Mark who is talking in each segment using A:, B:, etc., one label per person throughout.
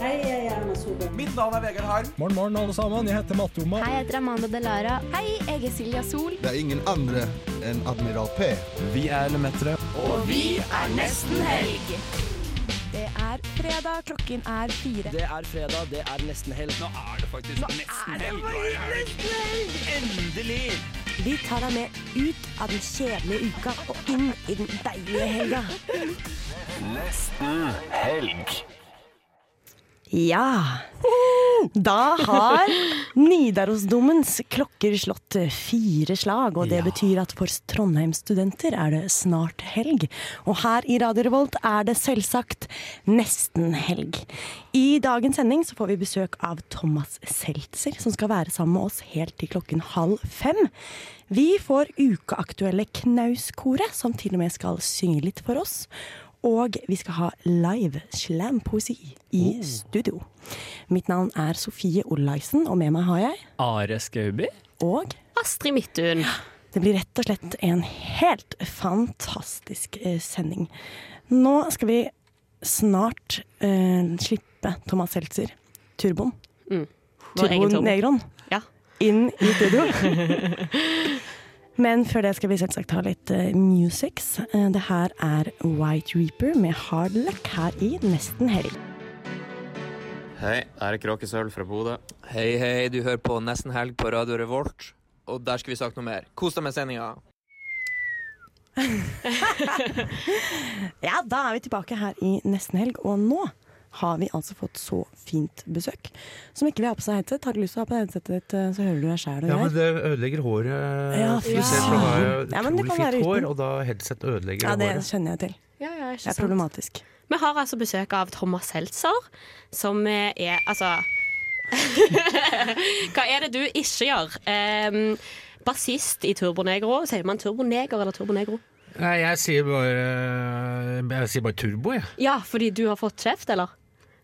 A: Hei, jeg er Erna Solberg.
B: Mitt navn er Vegard Harm.
C: Morgen, morgen, alle sammen. Jeg heter Matte Oma.
D: Hei, jeg heter Amanda Delara. Hei, jeg er Silja Sol.
E: Det er ingen andre enn Admiral P.
C: Vi er Lemetere.
D: Det er fredag, klokken er fire.
B: Det er fredag, det er nesten helg. Nå er det faktisk nesten helg. Endelig!
F: Vi tar deg med ut av den kjedelige uka og inn i den deilige helga. Ja. Da har Nidarosdomens klokker slått fire slag, og det betyr at for Trondheims studenter er det snart helg. Og her i Radio Revolt er det selvsagt nesten helg. I dagens sending så får vi besøk av Thomas Seltzer, som skal være sammen med oss helt til klokken halv fem. Vi får ukeaktuelle Knauskoret, som til og med skal synge litt for oss. Og vi skal ha live slampoesi i studio. Mitt navn er Sofie Olaisen, og med meg har jeg
G: Are Skaubi?
F: og
D: Astrid Midthun.
F: det blir rett og slett en helt fantastisk eh, sending. Nå skal vi snart eh, slippe Thomas Seltzer, Turboen,
D: Vår egen
F: Turboen
D: Tom.
F: Negron,
D: Ja.
F: inn i studio. Men før det skal vi selvsagt ha litt eh, musics. Eh, det her er White Reaper med Hard Luck her i Nesten Helg.
H: Hei, her er Kråkesølv fra Bodø.
B: Hei, hei, du hører på Nesten helg på Radio Revolt. Og der skulle vi sagt noe mer. Kos deg med sendinga.
F: Ja, da er vi tilbake her i nesten helg, og nå har vi altså fått så fint besøk. Som ikke vil ha på seg headset. Har du lyst til å ha på deg headsetet ditt, eh, så hører du deg sjæl og
I: Ja, men
F: greier.
I: det ødelegger håret.
F: Ja,
I: Du
F: fy
I: ser for meg har jeg
F: Ja, men det
I: utrolig
F: kan være
I: fint
F: uten.
I: hår, og da headset ødelegger
F: Ja, det
I: håret.
F: skjønner jeg til.
D: Ja, ja, ikke
F: Det er
D: sant.
F: problematisk.
D: Vi har altså besøk av Thomas Seltzer, som eh, er altså Hva er det du ikke gjør? Um, bassist i Turbonegro. Sier man Turboneger eller Turbonegro?
I: Nei, jeg sier bare Jeg sier bare turbo, jeg.
D: Ja, fordi du har fått kjeft, eller?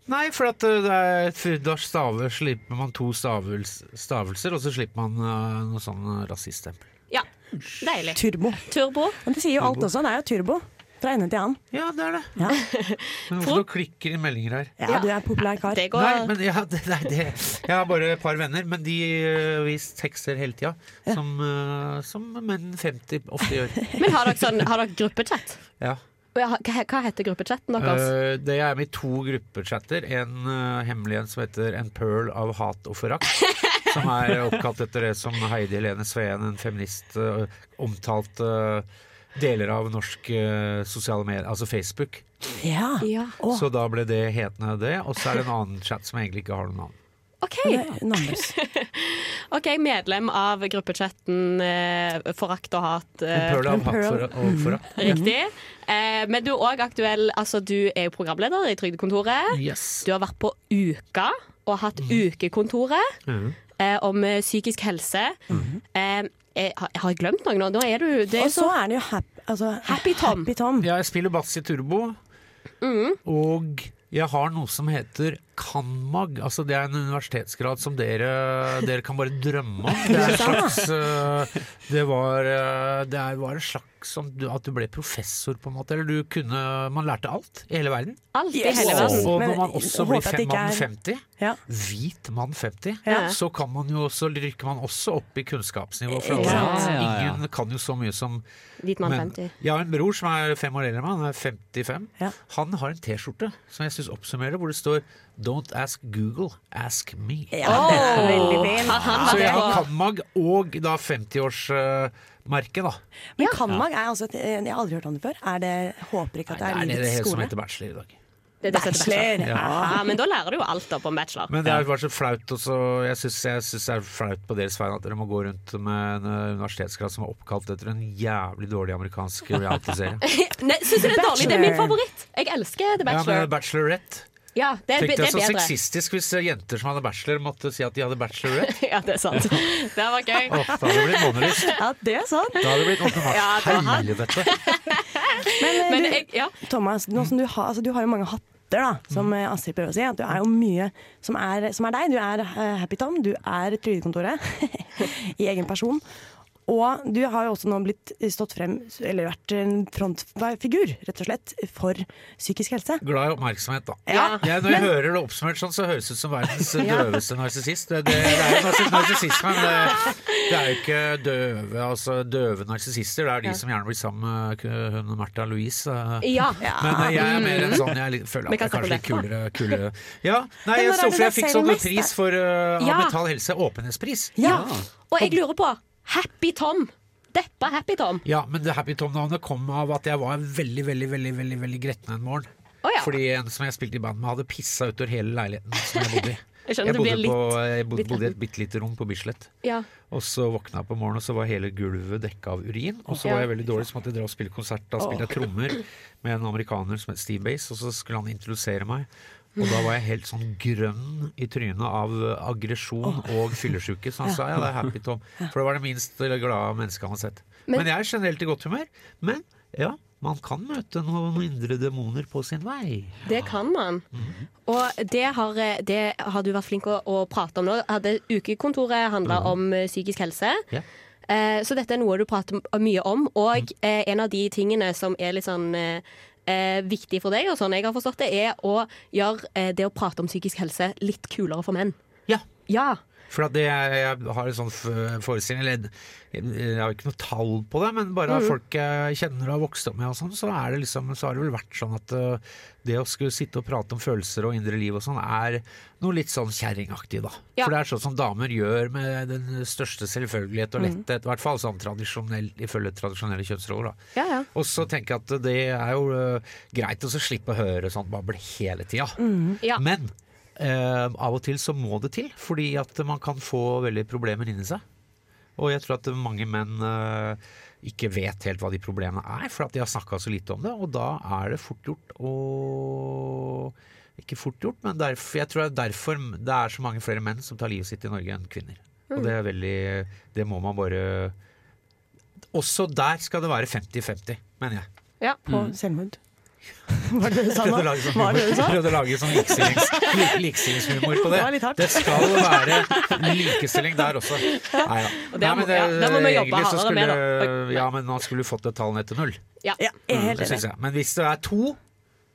I: Nei, for at uh, det er for da staver, slipper man to stavels, stavelser, og så slipper man uh, noe sånn uh, rasiststempel.
D: Ja. Deilig.
F: Turbo.
D: Turbo.
F: Men det sier jo alt også. Det er jo turbo. Fra ende til annen.
I: Ja, det er det.
F: Ja.
I: Men hvorfor det klikker i meldinger her?
F: Ja, du er en populær kar.
D: Det
I: Nei,
D: går
I: men ja, det, det, er det. Jeg har bare et par venner, men de uh, vi tekster hele tida. Som, uh, som menn 50 ofte gjør.
D: Men har dere, sånn, har dere gruppechat?
I: Ja.
D: Ja, Hva hva heter gruppechatten deres?
I: Eh, det er med i to gruppechatter. En eh, hemmelig en som heter 'En pearl av hat og forakt'. Som er oppkalt etter det som Heidi Helene Sveen, en feminist, eh, omtalte eh, deler av norsk eh, sosiale medier, altså Facebook.
F: Ja.
D: Ja.
F: Å,
I: Så da ble det hetende det. Og så er det en annen chat som egentlig ikke har noe navn.
D: OK,
F: det er navnløs.
D: ok, medlem av gruppechatten eh, Forakt og hat.
I: En
D: Eh,
I: pearl
F: en
I: av hat
F: pearl.
I: for, og forakt.
D: riktig.
I: Mhm.
D: Eh, men du er òg aktuell. Altså, du er jo programleder i Trygdekontoret.
I: Yes.
D: Du har vært på Uka og hatt
I: Mm.
D: Ukekontoret
I: Mhm.
D: eh, om eh, psykisk helse.
I: Mm.
D: Eh, eh, har, har jeg glemt noe nå? Nå er du det er
F: Og så
D: så,
F: er det jo happy, altså,
D: Happy Tom.
F: Happy Tom.
I: Ja, jeg spiller bass i Turbo.
F: Mm.
I: Og jeg har noe som heter CanMag. Altså det er en universitetsgrad som dere, dere kan bare drømme om. Det, er en slags, eh, det, var, eh, det er- var en slags som du, at du ble professor, på en måte. Eller du kunne Man lærte alt i hele verden.
D: alt i
F: Yes.
D: hele verden.
I: Og
F: Men
I: når man også
F: håper
I: blir
F: at det
I: fem
F: ikke
I: mann
F: er-
I: 50,
F: Ja.
I: hvit mann 50,
D: Ja.
I: så kan man jo også, rykker man også opp i kunnskapsnivå. For
F: Ikke
I: alle.
G: sant? Ja, ja, ja.
I: Ingen kan jo så mye som
D: Hvit mann
I: men
D: 50.
I: jeg har en bror som er fem år eldre enn meg, han er 55.
F: Ja.
I: Han har en T-skjorte som jeg syns oppsummerer, hvor det står 'Don't ask Google, ask me'.
F: Ja, det er veldig fint.
D: Har han
I: Så
D: vært
I: jeg har
D: på
I: Kanmag og da 50-årsmerket, da.
F: Men Kanmag er altså et Jeg har aldri hørt om det før. Er det Håper ikke at det er
I: det er det
F: livets
I: hele som
F: skole.
I: heter bachelor i dag.
D: Det er det som heter
F: Bachelor.
D: Ja, men da lærer du jo alt da på en bachelor.
I: Men det er bare så flaut også. Jeg syns jeg synes det er flaut på deres vegne at dere må gå rundt med en eh, universitetsgrad som er oppkalt etter en jævlig dårlig amerikansk reality-serie.
D: Nei, synes jeg det er dårlig? Det er min
F: Bachelor.
D: favoritt. Jeg elsker The
I: Ja, men
D: Bachelor.
I: bachelorette.
D: Ja, det, er,
I: Tenk
D: det
I: deg
D: er
I: så
D: bedre.
I: sexistisk hvis eh, jenter som hadde bachelor, måtte si at de hadde bachelorette.
D: Ja, det er sant. Det var gøy.
I: Åh, da hadde det blitt månelyst.
F: Ja, det er sant.
I: Da hadde det blitt åpne mars.
D: Ja, det var han.
I: Helvete.
F: Men,
D: Men
F: du,
D: jeg, ja.
F: Thomas, nå som du, har, altså, du har jo mange hatter, da, som eh, Astrid prøver å si. At du er jo mye som er, som er deg. Du er eh, Happy Tom, du er Trygdekontoret i egen person. Og du har jo også nå blitt stått frem, eller vært en frontfigur, rett og slett, for psykisk helse.
I: Glad i oppmerksomhet, da.
J: Ja.
I: Jeg, når jeg hører det oppsummert sånn, så høres det ut som verdens døveste narsissist. Det, det, det er jo narsis- narsissisme, men det, det er jo ikke døve altså døve narsissister. Det er de som gjerne blir sammen med k- hun Märtha Louise. eh.
J: Ja.
I: Men eh, jeg er mer en sånn Jeg litt- føler
J: Vi
I: at jeg
J: kan
I: er kanskje litt
J: snakke om
I: kulere, kulere. Ja, nei,
F: Men
I: jeg
F: når er
I: står
F: det
I: for jeg
F: deg
I: fikk
F: selv
I: sånn
F: mest,
I: pris
F: da?
I: for uh,
J: Ja.
I: Mental Helse, åpenhetspris.
F: Ja.
J: Og jeg lurer på Happy Tom. Deppa Happy Tom.
I: Ja, men det Happy Tom-navnet kom av at jeg var veldig, veldig, veldig, veldig, veldig gretten en morgen.
J: Å ja.
I: Fordi en som jeg spilte i band med, hadde pissa utover hele leiligheten som jeg bodde i.
J: Jeg skjønner du
I: Jeg bodde,
J: blir litt
I: på, jeg bodde,
J: litt
I: bodde i et bitte lite rom på Bislett.
J: Ja.
I: Og så våkna jeg på morgenen, og så var hele gulvet dekka av urin. Og så
J: Ja.
I: var jeg veldig dårlig, så måtte jeg dra og spille konsert. Da spilte jeg trommer med en amerikaner som het Steve Bass, og så skulle han introdusere meg. Og da var jeg helt sånn grønn i trynet av eh, aggresjon og fyllesyke. Så han sa ja, det er Happy Tom. For det var det minst glade mennesket han hadde sett.
J: Men-
I: Men, jeg er generelt i godt humør. Men ja, man kan møte noen indre demoner på sin vei.
J: Det kan man. Og det har, eh, det har du vært flink å, å prate om nå. Hadde ukekontoret handla om eh, psykisk helse.
I: Ja.
J: Eh, så dette er noe du prater m- mye om. Og eh, en av de tingene som er litt sånn eh, eh, viktig for deg, og sånn jeg har forstått det, er å gjøre eh, det å prate om psykisk helse litt kulere for menn.
I: Ja.
J: Ja.
I: For at det, jeg, jeg har en sånn f- forestilling eller, Jeg jeg har ikke noe tall på det, men bare av
J: Mm.
I: folk jeg kjenner og har vokst opp med, og sånn, så, er det liksom, så har det vel vært sånn at øh, det å skulle sitte og prate om følelser og indre liv og sånn, er noe litt sånn kjerringaktig, da.
J: Ja.
I: For det er sånn som damer gjør med den største
J: Mm.
I: selvfølgelighet og letthet, i hvert fall sånn tradisjonell, ifølge tradisjonelle kjønnsroller. da.
J: Ja, ja.
I: Og så tenker jeg at det er jo øh, greit å så slippe å høre sånn babble hele tida.
J: Ja.
I: Men eh, av og til så må det til, fordi at man kan få veldig problemer inni seg. Og jeg tror at mange menn eh, ikke vet helt hva de problemene er, for at de har snakka så lite om det. Og da er det fort gjort å Ikke fort gjort, men derfor, jeg tror det er derfor det er så mange flere menn som tar livet sitt i Norge enn kvinner.
F: Mm.
I: Og det er veldig Det må man bare Også der skal det være 50-50, mener jeg.
J: ja.
F: På selvmord. Var det det du sa nå?
I: Prøvde å lage sånn
F: Var det det du sa?
I: humor- prøvde å lage sånn likestillings- lik- likestillingshumor på det.
F: Det var litt hardt.
I: Det skal være likestilling der også. Nei, ja.
J: Og det må- ja, det må vi jobbe
I: egentlig så
J: hardere med,
I: skulle-
J: da.
I: Ja, men nå skulle du fått det tallet ned til null.
J: ja.
F: Ja, jeg er helt
I: Mm, Det
F: enig.
I: synes jeg. Men hvis det er to,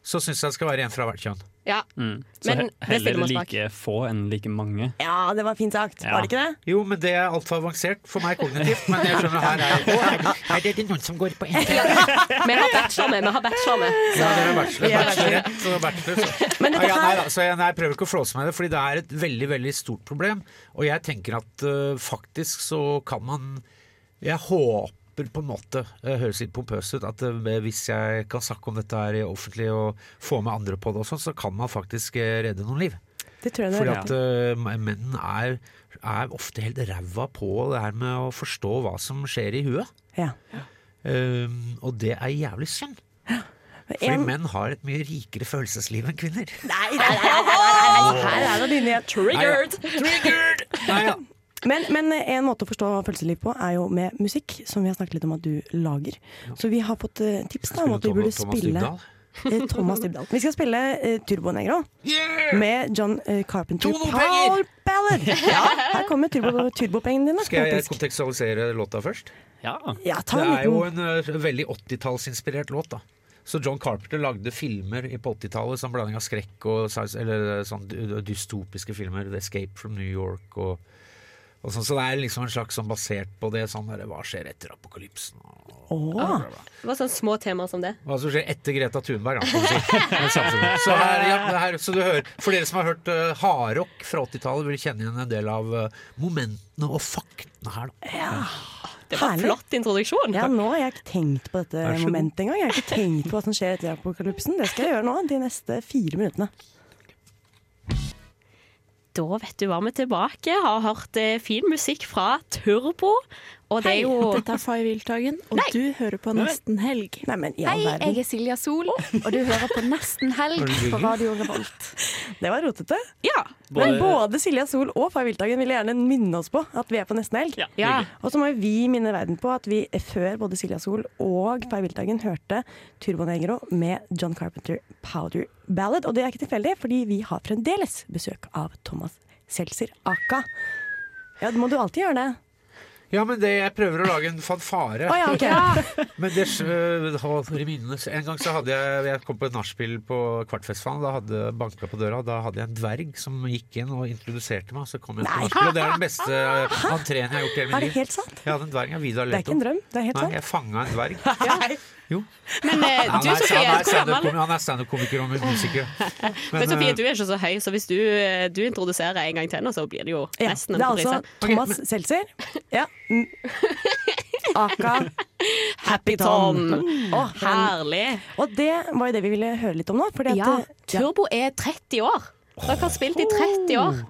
I: så syns jeg det skal være en fra hvert kjønn.
J: ja.
D: Mm. Så
J: Men
D: he-
J: det stiller
D: heller
J: man bak.
D: like få enn like mange.
F: Ja, det var fint sagt.
D: Ja.
F: Var det ikke det?
I: Jo, men det er altfor avansert for meg kognitivt. Men jeg skjønner her er, Å, er, er det noen som går på NTNU?
J: Vi har bachelor med. Vi har bachelor med.
I: Ja, dere er bachelor.
F: Vi er
I: bachelor, ja. Så bachelor så.
F: Men dette
I: Ja, nei,
F: her-
I: da, så jeg, nei, jeg prøver ikke å flåse med det, Fordi det er et veldig veldig stort problem. Og jeg tenker at øh, faktisk så kan man Jeg håper på en måte, det høres litt pompøst ut, at øh, hvis jeg kan snakke om dette her i offentlig og få med andre på det, og sånn, så kan man faktisk øh, redde noen liv.
F: Det tror jeg du
I: Fordi
F: har rett
I: at
F: i.
I: øh, menn er, er ofte helt ræva på det her med å forstå hva som skjer i huet.
F: Ja.
I: Ehm, og det er jævlig synd. eh, Fordi
F: En-
I: menn har et mye rikere følelsesliv enn kvinner.
F: Nei, nei, nei, nei, nei, nei, nei. her er det dine igjen.
J: Triggered!
I: Nei, ja.
F: Men, men en måte å forstå følelsesliv på er jo med musikk, som vi har snakket litt om at du lager. Så vi har fått eh, tips da, om at vi burde spille
I: Dybdahl.
F: eh, Thomas Dybdahl. Vi skal spille eh, Turbo Negro med John eh, Carpenter.
I: To noen
F: Power Ballad! Ja, her kommer turbo, turbopengene dine.
I: Skal jeg
F: faktisk.
I: kontekstualisere låta først?
D: Ja.
F: Ja, ta
I: Det
F: en
I: er jo
F: liten
I: en ø, veldig 80-tallsinspirert låt, da. Så John Carpenter lagde filmer i på 80-tallet, sånn blanding av skrekk og sci- eller sånn dy- dystopiske filmer. The 'Escape from New York' og, og sånn. Så det er liksom en slags sånn basert på det. Sånn derre Hva skjer etter apokalypsen? Og
F: Åh,
J: Det var sånne små temaer som det.
I: Hva som skjer etter Greta Thunberg, da, kan du si. Men samtidig. Så, her, ja, det her, så du hører, for dere som har hørt uh, hardrock fra 80-tallet, vil kjenne igjen en del av eh, momentene og faktene her. Da.
J: Det var
F: Herlig.
J: flott introduksjon.
F: Ja, nå har jeg ikke tenkt på dette
I: Vær så god.
F: momentet engang. Jeg har ikke tenkt på hva som skjer etter apokalypsen. Det skal jeg gjøre nå, de neste fire minuttene.
J: Da vet du hva vi er tilbake. Har hørt eh, fin musikk fra Turbo. Og det er jo
K: Dette er Fay Wiltagen, og du hører på Nesten Helg.
F: Nei, men i
K: Hei,
F: all verden.
K: jeg er Silja Sol, og du hører på Nesten Helg på Radio Revolt.
F: Det var rotete.
J: Ja.
F: Men både Silja Sol og Fay Wiltagen ville gjerne minne oss på at vi er på nesten helg.
D: Ja.
J: ja.
F: Og så må vi minne verden på at vi før både Silja Sol og Fay Wiltagen hørte Turbonegro med John Carpenter Powder Ballad. Og det er ikke tilfeldig, fordi vi har fremdeles besøk av Thomas Seltzer Aka. Ja, det må du alltid gjøre det.
I: Ja, men det, jeg prøver å lage en fanfare.
F: Å ja, ok.
I: Men det, øh, hold i minne. En gang så hadde jeg Jeg kom på et nachspiel på Kvartfestivalen. Da hadde banka på døra. Da hadde jeg en dverg som gikk inn og introduserte meg. Så kom jeg på nachspiel, og det er den beste øh, entreen jeg har gjort i hele
F: Er det
I: mitt liv.
F: helt sant?
I: Jeg hadde en dverg av
F: Det
I: Vidar
F: er ikke
I: Leto.
F: en drøm, det er helt
I: Nei,
F: sant.
I: jeg fanga en dverg.
D: Men eh,
I: Han
D: du,
I: er,
D: Sofie,
I: han er
D: hvor gammel
I: standup-komiker- han er standup-komiker og musiker.
D: Men Sofie,
I: øh,
D: du er ikke så høy, så hvis du, eh, du introduserer en gang til nå, så blir det jo
F: Ja,
D: nesten
F: det
D: en
F: er
D: reprise.
F: altså Thomas Seltzer. Ja. Mm. Aka Happy Tom.
D: Tom. Mm.
F: Å, han-
D: Herlig.
F: Og det var jo det vi ville høre litt om nå. Fordi at,
J: Ja, Turbo er 30 år. Dere har spilt i 30 år.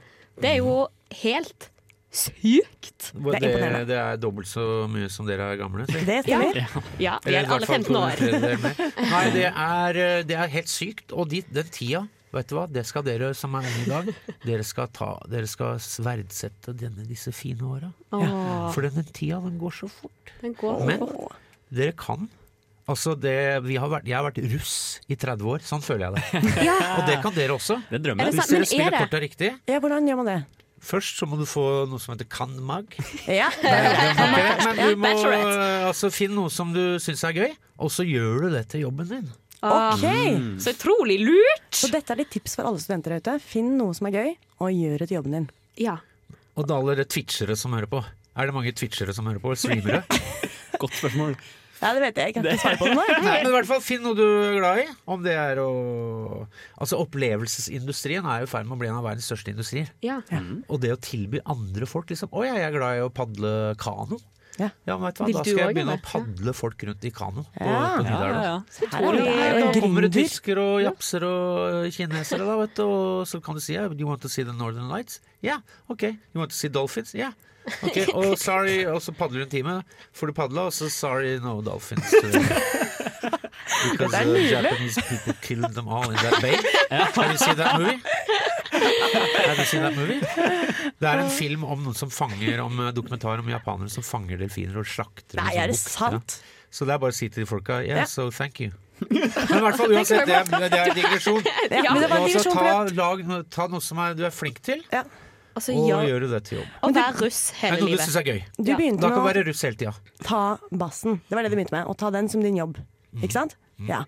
J: Det er jo helt sykt.
I: hvor
F: Det er
I: det,
F: imponerende.
I: det er dobbelt så mye som dere er gamle. Så.
F: Det stemmer.
D: Ja, vi
I: Eller i
D: er
I: hvert
D: alle
I: fall
D: 15
I: to
D: år.
I: tredjedeler mer. Nei, det er, det er helt sykt. Og de, den tida, vet du hva, det skal dere som er unge i dag, dere skal, ta, dere skal verdsette denne, disse fine åra.
D: Åh,
I: For den, den tida, den går så fort.
D: den går
I: Men
D: fort.
I: dere kan. Altså det, vi har vært, jeg har vært russ i 30 år, sånn føler jeg det. Og det kan dere også.
L: Det
J: Er
L: drømmer
J: det
L: jeg.
I: Hvis
J: sant? Men
I: dere
J: er
I: spiller
J: det?
I: korta riktig.
F: Ja, hvordan gjør man det?
I: Først så må du få noe som heter kanmag.
F: Ja.
I: Ok, Men du må
D: Bachelorette.
I: altså, finne noe som du syns er gøy, og så gjør du det til jobben din.
F: Ok!
D: Så utrolig lurt!
F: Så dette er litt tips for alle studenter der ute. Finn noe som er gøy, og gjør det til jobben din.
D: Ja.
I: Og det er allerede twitchere som hører på. Er det mange twitchere som hører på? Streamere?
L: Godt spørsmål.
F: Ja, det vet jeg. Jeg kan ikke svare på det
I: Nei,
F: nå.
I: men i hvert fall finn noe du er glad i. Om det er å Altså, opplevelsesindustrien er jo i ferd med å bli en av verdens største industrier.
D: ja.
I: Og det å tilby andre folk liksom Å ja, jeg er glad i å padle kano.
F: Ja.
I: men vet du hva,
D: Vil
I: da
D: du
I: skal
D: også
I: jeg begynne
D: gjøre
I: å padle folk rundt i kano. På,
F: Ja.
I: på Nydalen.
F: Her er det-
I: Nei,
F: det er jo
I: da
F: en
I: kommer det
F: gründer.
I: tysker og japser og eh, kinesere, da, vet du. Og så kan du si ja, You want to see the Northern Lights? Ja. OK. You want to see dolphins? Ja. Ok, Og sorry, og så padler du en time. Får du padla, og så sorry, no dolphins. Because uh, Japanese people killed them all in that bay. Have you seen that movie? Have you seen that movie? Det er en film om noen som fanger Om eh, dokumentar om japanere som fanger delfiner og slakter dem
F: Nei,
I: som
F: er det
I: bukt.
F: sant?
I: Ja. Så det er bare å si til de folka Yeah,
F: Ja.
I: so thank you. Men i hvert fall uansett, det er, det er digresjon.
F: Ja, men det var en
I: Altså,
F: digresjon.
I: ta,
F: for det-
I: lag, no- ta noe som er, du er flink til,
D: Og så
I: og
D: gjør
I: gjør du det til jobb.
D: Altså, Å være russ
I: Det
D: hele
I: er noe du
D: livet.
I: syns er gøy.
F: Du
D: Ja.
F: begynte
I: Da
F: med
I: kan du
F: å
I: være russ hele tida.
F: ta bassen. Det var det du begynte med. Å ta den som din jobb. Ikke sant? Ja.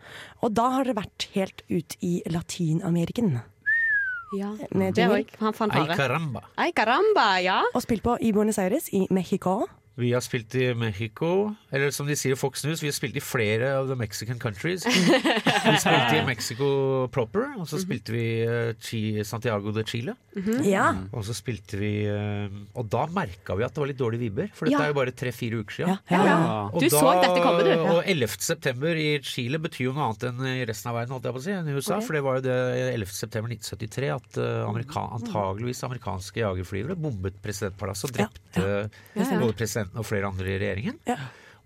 F: Og da har dere vært helt ut i Latin-Ameriken
D: Ja.
F: med
D: Det er
F: jingle.
D: òg han
I: Ay
D: fanfare.
I: caramba.
D: Ei, caramba, ja.
F: Og spilt på i Buenos Aires i Mexico.
I: Vi har spilt i Mexico, eller som de sier i Fox News, vi har spilt i flere av the Mexican countries. Vi spilte i Mexico proper, og så spilte vi eh, Chi- Santiago de Chile.
F: Ja.
I: Og så spilte vi eh, Og da merka vi at det var litt dårlige vibber, for dette
D: Ja.
I: er jo bare tre-fire uker sia.
F: Ja. Ja. Ja.
L: Ja.
D: Du så dette komme, du.
I: Og 11. september i Chile betyr jo noe annet enn i resten av verden, holdt jeg på å si, enn i USA. For det var jo det 11. september 1973 at eh, amerika antageligvis amerikanske jagerflyvere bombet presidentpalasset og
F: Ja,
I: drepte
D: Ja, ja.
I: både presidenten og flere andre i regjeringen.
F: Ja.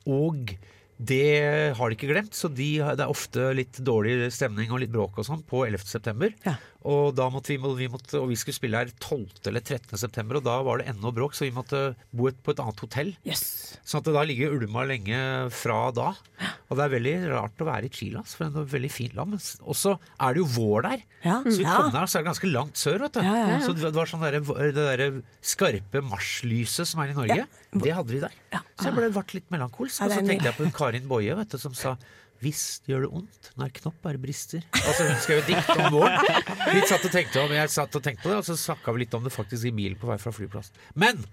I: Og det har de ikke glemt, så de, det er ofte litt dårlig stemning og litt bråk og sånn på 11. september.
F: Ja.
I: Og, da måtte vi, vi måtte, og vi skulle spille her 12. eller 13. september, og da var det ennå bråk, så vi måtte bo et, på et annet hotell.
F: Yes.
I: Sånn at det da ligger ulma lenge fra da. Og det er veldig rart å være i Chile, altså, for det er et veldig fint land. Men s- også er det jo vår der.
F: Ja.
I: Så vi kom
F: Ja.
I: der, så er det ganske langt sør, vet du.
F: Ja, ja, ja.
I: Så det det var sånn derre- det derre skarpe marslyset som er i Norge, det hadde vi der. Så jeg ble vart litt melankolsk.
F: Ja,
I: Og
F: det er
I: så tenkte jeg på hun Karin Boje, vet du, som sa Visst gjør det vondt når knopp bare brister. Altså Hun skrev et dikt om våren. Vi satt og tenkte om, jeg satt og tenkte på det, og så snakka vi litt om det faktisk i bilen på vei fra flyplassen. Men!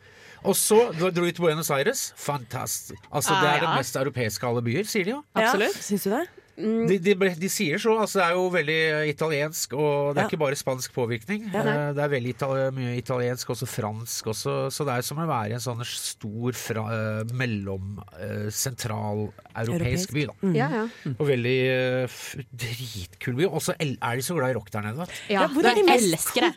I: Og så dro vi til Buenos Aires. Fantastisk. Altså Det
D: Ah,
I: er den
D: ja.
I: mest europeiske av alle byer, sier de jo.
D: Absolutt.
F: Ja. Syns du det?
I: De, de, ble- de sier så. Altså, det er jo veldig italiensk, og det er
F: Ja.
I: ikke bare spansk påvirkning. Eh, Det er veldig itali mye italiensk, også fransk også. Så det er som å være i en sånn stor fra, eh, mellom eh,
F: Europeisk. Mm.
I: sentral-europeisk by, da.
D: Ja, ja.
I: Og veldig eh, f- dritkul by. Og så el- er de så glad i rock der nede. da.
D: ja.
F: hvor
D: Jeg
F: er de mest
D: elsker det.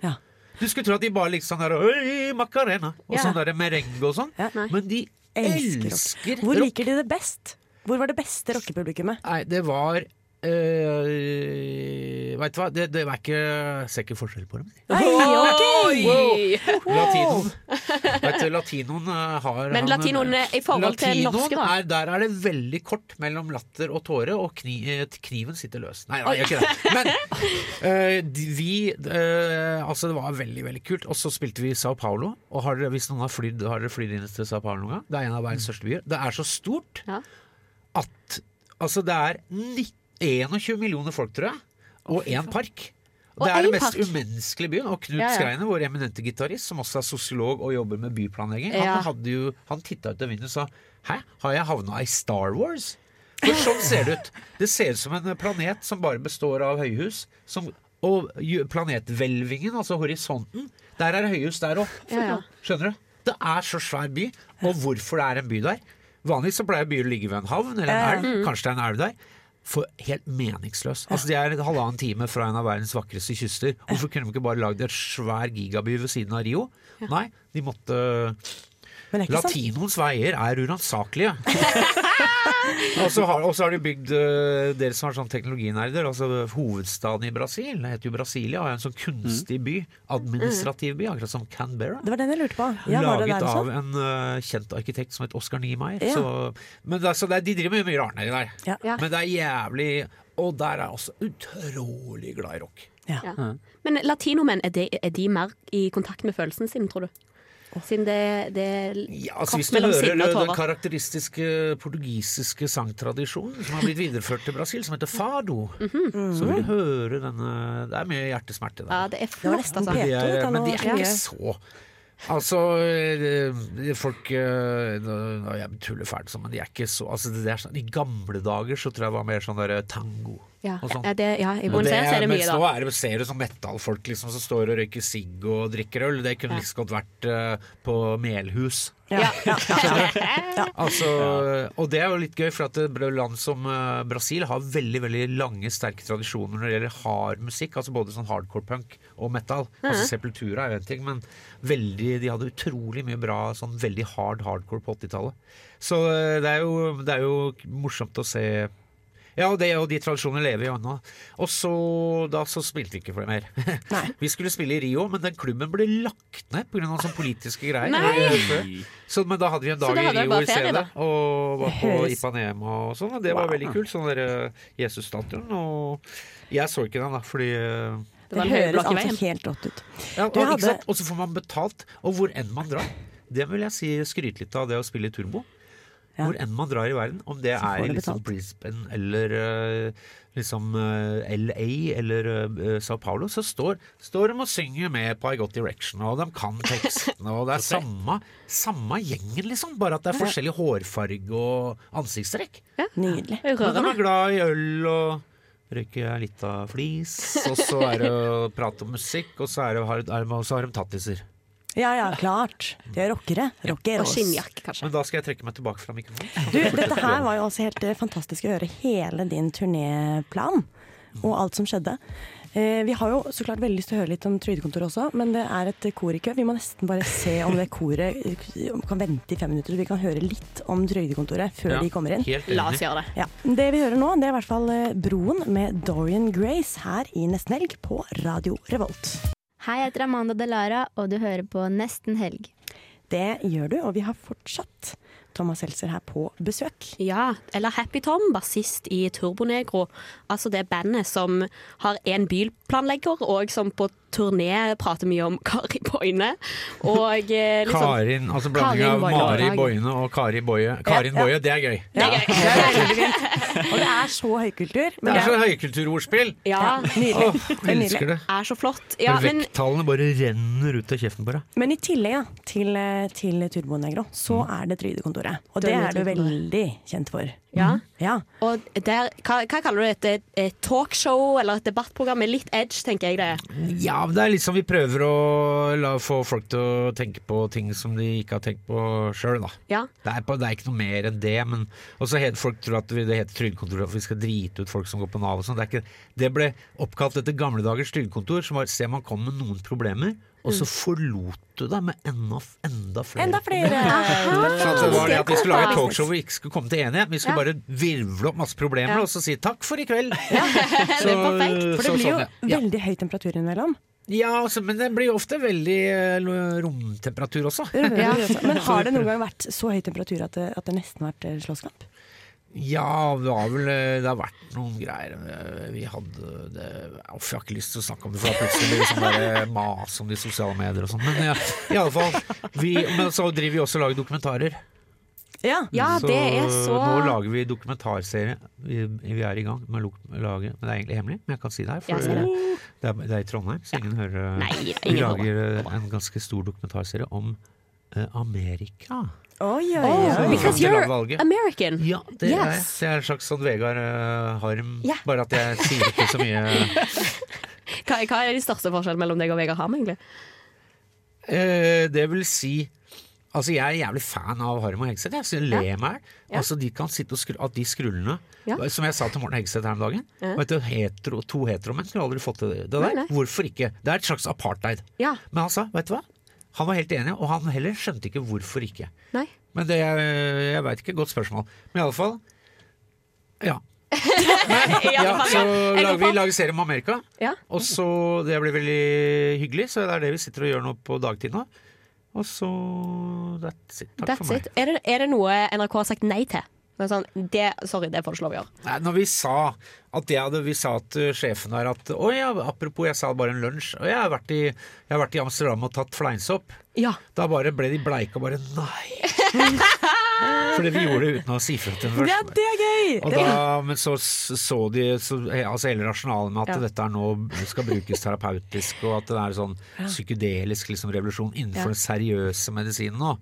F: Ja.
I: Du skulle tro at de bare liksom der Oi, Macarena! Og
D: Ja.
I: sånn der merengue og sånn.
F: Ja.
I: Men de
F: Elsker
I: elsker
F: Hvor
I: rock.
F: liker de det best? Hvor var det beste rockepublikummet?
I: Nei, det var eh, Vet du hva, det, det er ikke, ser ikke forskjell på dem.
F: Nei, ok!
D: Oi!
I: Latinoen vet du, Latinoen eh, har
D: Men
I: han-
D: latinoen er- i forhold til
I: Latinoen
D: norske, da?
I: Er, der er det veldig kort mellom latter og tåre, og kni, eh, kniven sitter løs. Nei, nei, gjør ikke det. Men eh, de- vi eh, Altså, det var veldig, veldig kult. Og så spilte vi i Sao Paulo. Og har dere, hvis noen har flydd, har dere flydd inn til Sao Paulo noen gang? Det er en av verdens største byer. Det er så stort
D: Ja.
I: at Altså, det er ni- 21 millioner folk, tror jeg, og én park.
D: Og
I: Det er den
D: én
I: mest
D: park.
I: umenneskelige byen. Og Knut
D: Ja, ja.
I: Skreine, vår eminente gitarist, som også er sosiolog og jobber med byplanlegging,
D: Ja.
I: han, hadde jo- han titta ut av vinduet og sa Hæ, har jeg havna i Star Wars? For sånn ser det ut. Det ser ut som en planet som bare består av høyhus. Som, og ju- planethvelvingen, altså horisonten, der er høyhus der òg.
D: Ja, ja.
I: Skjønner du? Det er så svær by, og hvorfor det er en by der. Vanligvis så pleier byer å ligge ved en havn eller en elv,
D: Mm.
I: kanskje det er en elv der. For helt meningsløs. Altså De er en halvannen time fra en av verdens vakreste kyster. Hvorfor kunne de ikke bare lagd et svær gigaby ved siden av Rio? Nei, de måtte
F: Men det er ikke sånn- sant.
I: Latinoens veier er uransakelige. og så har, og så har de bygd eh, dere som er sånn teknologinerder, altså hovedstaden i Brasil, det heter jo Brasilia, er en sånn kunstig by, administrativ by, akkurat som Canberra
F: Det var den jeg lurte på. Ja, var det
I: laget
F: der også?
I: av en eh, kjent arkitekt som het Oskar Niemeyer.
F: Ja.
I: Så, men det, er- så det, er- de driver med mye rart nedi der.
F: Ja.
D: Ja.
I: Men det er jævlig Og der er jeg også utrolig glad i rock.
F: Ja.
D: Ja. Men latinomenn, er de, er de mer i kontakt med følelsene sine, tror du? Siden det, det
I: Ja, altså,
D: Kort
I: hvis du
D: mellom
I: hører
D: sinne og tårer.
I: den karakteristiske portugisiske sangtradisjonen som har blitt videreført til Brasil, som heter fado, så vil du høre denne Det er mye hjertesmerte der.
D: Mhm. Ja, det er
F: Det var
D: flott,
F: nesten sånn.
D: altså.
F: P2.
I: Men de er,
F: kan
I: men de
F: også-
I: er
F: ja.
I: ikke så Altså, eh, folk eh, nå- nå- Jeg tuller fælt, sånn, men de er ikke så altså, det er sånn, I gamle dager så tror jeg det var mer sånn der tango.
D: Ja,
I: og sånn.
D: ja, det, ja i
I: Og
D: Buenos Aires er det mye,
I: mens nå
D: da.
I: er det, ser du sånn metallfolk liksom, som står og røyker sigg og drikker øl. Det kunne
D: Ja.
I: like så godt vært eh, på Melhus.
F: Ja. Ja.
I: Altså, Og det er jo litt gøy, for at det- land som eh, Brasil har veldig veldig lange, sterke tradisjoner når det gjelder hard musikk. altså Både sånn hardcore punk og metal.
D: Mhm.
I: Altså Sepultura er jo en ting, men veldig, de hadde utrolig mye bra sånn veldig hard hardcore på 80-tallet. Så eh, det er, jo, det er jo morsomt å se ja, og, det, og de tradisjonene lever jo ennå. Og så, da så spilte vi ikke for det mer. Vi skulle spille i Rio, men den klubben ble lagt ned pga. sånne politiske greier.
D: Nei!
I: Før. Så, men da hadde vi en
D: Så
I: dag
D: da
I: i
D: hadde dere
I: Rio
D: bare
I: i
D: ferie,
I: stedet,
D: da?
I: og var på
F: Høres-
I: Ipanema og sånn, og det var veldig kult. Sånn derre Jesus-statuen. Og jeg så ikke den, da, fordi eh,
D: var
F: Det
D: en
F: høres
D: høyblokk i
F: altså
D: veien.
F: helt rått ut.
I: ja, og,
F: Du hadde-
I: ikke sant? og så får man betalt, og hvor enn man drar. Det vil jeg si skryte litt av det å spille turbo.
F: Ja.
I: Hvor enn man drar i verden, om det
F: får
I: er
F: du
I: i liksom
F: betalt.
I: Brisbane eller eh, liksom eh, LA eller eh, Sao Paulo, så står, står de og synger med på I Got Direction, og de kan tekstene, og det er samme, samme gjengen, liksom, bare at det er forskjellig hårfarge og ansiktstrekk.
F: Nydelig.
D: Det er jo
I: Men de
D: rørende.
I: er glad i øl og røyker litt av flis, og så er det å prate om musikk, og så, er det, har, er, og så har de tattiser.
F: Ja ja, klart. De er rockere. Rockeros.
D: Og skinnjakke, kanskje.
I: Men da skal jeg trekke meg tilbake fra mikrofonen.
F: Du, dette her var jo også helt eh, fantastisk å høre hele din turnéplan og alt som skjedde. Eh, vi har jo så klart veldig lyst til å høre litt om Trygdekontoret også, men det er et kor i kø. Vi må nesten bare se om det koret eh, kan vente i fem minutter, så vi kan høre litt om Trygdekontoret før de kommer inn.
I: Helt
D: La oss
I: enig.
D: gjøre det.
F: Ja, Det vi hører nå, det er i hvert fall eh, Broen med Dorian Grace her i Nesten Helg på Radio Revolt.
K: Hei, jeg heter Amanda Delara, og du hører på Nesten helg.
F: Det gjør du, og vi har fortsatt Thomas Seltzer her på besøk.
D: Ja, eller Happy Tom, bassist i Turbonegro. Altså det bandet som har en bilplanlegger, og som på turné prater mye om Kari Boine. Og eh, liksom
I: Karin, altså blanding av
D: Karin Boye.
I: Mari Boine og Kari Boie. Karin Boie, det er gøy.
D: Det er gøy.
F: Og det er så høykultur.
I: Det
F: Men
I: er så høykulturordspill!
D: Ja,
F: nydelig.
I: Åh, jeg elsker det.
D: er så flott. Ja, men
I: Vekttallene bare renner ut av kjeften på deg.
F: Men i tillegg da, til, til Turbonegro, så
I: Mm.
F: er det Trygdekontoret. Og det er du veldig kjent for.
D: ja.
F: Ja.
D: Og der, hva, hva kaller du det? Et, et talkshow eller et debattprogram med litt edge, tenker jeg det er.
I: Ja, men det er liksom vi prøver å la, få folk til å tenke på ting som de ikke har tenkt på sjøl, da.
D: Ja.
I: Det er, på, det er ikke noe mer enn det. Men også het, folk tror at vi- det heter trygdekontor for vi skal drite ut folk som går på Nav og sånn. Det, er ikke- det ble oppkalt etter gamle dagers trygdekontor, som var se man kom med noen problemer, og så forlot du deg med enda, enda flere.
F: Enda flere!
I: Så det var det at Vi skulle lage et
K: fantastisk.
I: talkshow hvor vi ikke skulle komme til enighet. Vi skulle bare virvle opp masse problemer og så si takk for i kveld. Så,
F: For det
I: så
F: blir jo
I: sånn, ja. Ja.
F: veldig høy temperatur innimellom.
I: Ja, altså, men det blir jo ofte veldig eh, lo- romtemperatur også.
F: Men har det noen gang vært så høy temperatur at det, at det nesten har vært eh, slåsskamp?
I: Ja, det har vel eh, Det har vært noen greier eh, Vi hadde det Uff, jeg har ikke lyst til å snakke om det, for da plutselig blir det sånn der, eh, mas om de sosiale medier og sånn. Men ja, i alle fall vi, Men så driver vi også og lager dokumentarer.
F: Ja.
K: Ja,
D: Ah,
I: så,
K: det er så
I: Nå lager vi dokumentarserie. Vi, vi er i gang med å lo- lage Men det er egentlig hemmelig, men jeg kan si det her.
D: Ja,
I: For
D: si det.
I: eh, det, er, det er i Trondheim, så ingen hører eh,
D: Nei,
I: Vi
D: ingen hører.
I: lager eh, en ganske stor dokumentarserie om eh, Amerika.
F: Oi, oi,
I: Så-
F: oi.
D: Because
I: til
D: you're
I: landvalget.
D: American.
I: Ja, det er jeg.
D: Yes.
I: Jeg er en slags sånn Vegard eh, Harm,
D: Ja.
I: bare at jeg sier ikke så mye.
D: Hva, hva er de største forskjellene mellom deg og Vegard Harm, egentlig?
I: Eh, det vil si Altså Jeg er jævlig fan av Harm og Hegseth. Jeg synes jeg ler meg i hjel. Altså, de kan sitte og skru At de skrullene eh,
D: Ja.
I: Som jeg sa til Morten Hegseth her om dagen. Vet du, hetero, to heteromenn skulle aldri fått til det der.
D: nei.
I: Hvorfor ikke? Det er et slags apartheid.
D: Ja.
I: Men han sa, vet du hva? Han var helt enig, og han heller skjønte ikke hvorfor ikke.
D: Nei.
I: Men det, jeg veit ikke. Godt spørsmål. Men i alle fall ja. ja, så lager vi lager serie om Amerika.
D: Ja.
I: Og så, Det blir veldig hyggelig, så det er det vi sitter og gjør nå på dagtid nå. Og så That's it. Takk
D: That's
I: for meg.
D: it. Er det, er det noe NRK har sagt nei til? Det er sånn, det, sorry, det får du ikke lov å gjøre.
I: Nei, når vi sa at jeg hadde, vi sa til sjefen der at Å ja, apropos, jeg sa bare en lunsj. Og jeg har vært i, jeg har vært i Amsterdam og tatt fleinsopp.
D: Ja.
I: Da bare ble de bleike og bare nei. Fordi vi gjorde det uten å si fra til dem først.
F: Ja, det er gøy!
I: Og da, men så så de så, altså hele rasjonalet med at dette er nå skal brukes terapeutisk, og at det er sånn psykedelisk liksom, revolusjon innenfor den seriøse medisinen nå.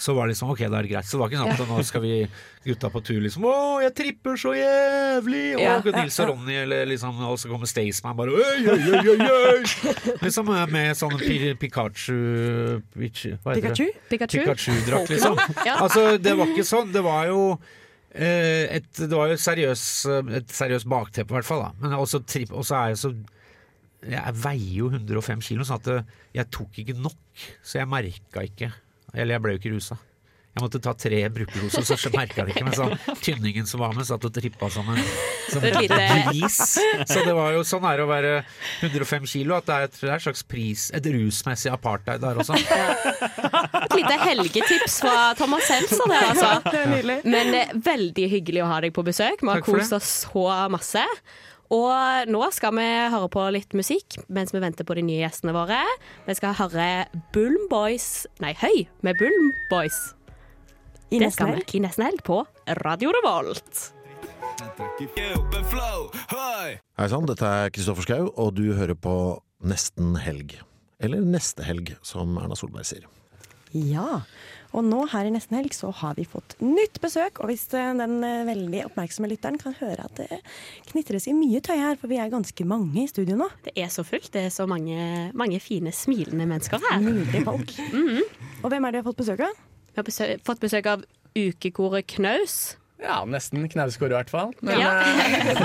I: Så var det liksom ok, da er det greit. Så det var ikke sånn at nå skal vi gutta på tur liksom Å, jeg tripper så jævlig! Og
F: Ja.
I: Nils og Ronny, eller liksom Og så kommer Staysman bare Øy, øy, øy, øy, øy! Liksom eh, med sånn Pi- Pikachu Pichu- Hva heter det?
F: Pikachu?
D: Pikachu?
I: Pikachu-drakt, liksom. Altså, det var ikke sånn. Det var jo eh, et, det var jo seriøs, et seriøst bakteppe, i hvert fall. Da. Men også tripp, og så er jeg så Jeg veier jo 105 kilo, sånn at det- jeg tok ikke nok. Så jeg merka ikke. Eller jeg ble jo ikke rusa. Jeg måtte ta tre brukerdoser, så jeg merka det ikke. Men så tynningen som var med, satt og trippa som en som
D: Et lite-
I: gris. Så det var jo sånn er det å være 105 kilo, at det er, et- det er et slags pris, et rusmessig apartheid der også.
D: Et lite helgetips fra Thomas Seltzer der, altså.
F: Det er nydelig.
D: Men eh, veldig hyggelig å ha deg på besøk. Vi har
I: Takk for
D: kost
I: det.
D: oss så masse. Og nå skal vi høre på litt musikk mens vi venter på de nye gjestene våre. Vi skal høre Bulm Boys Nei, Høy med Bulm Boys.
F: I
D: Det
F: nesten
D: skal vi
F: helg.
D: i nesten helg på Radio Revolt.
L: Hei sann, dette er Kristoffer Schau, og du hører på Nesten helg. Eller Neste helg, som Erna Solberg sier.
F: Ja. Og nå her i nesten helg så har vi fått nytt besøk. Og hvis eh, den eh, veldig oppmerksomme lytteren kan høre at det knitres i mye tøy her, for vi er ganske mange i studio nå.
D: Det er så fullt. Det er så mange, mange fine, smilende mennesker her.
F: Nydelige folk.
M: Mhm.
F: Og hvem er det vi har fått besøk av?
D: Vi har besø fått besøk av ukekoret Knaus.
M: Ja, nesten knausgård i hvert fall. Men, eh,
D: Ja.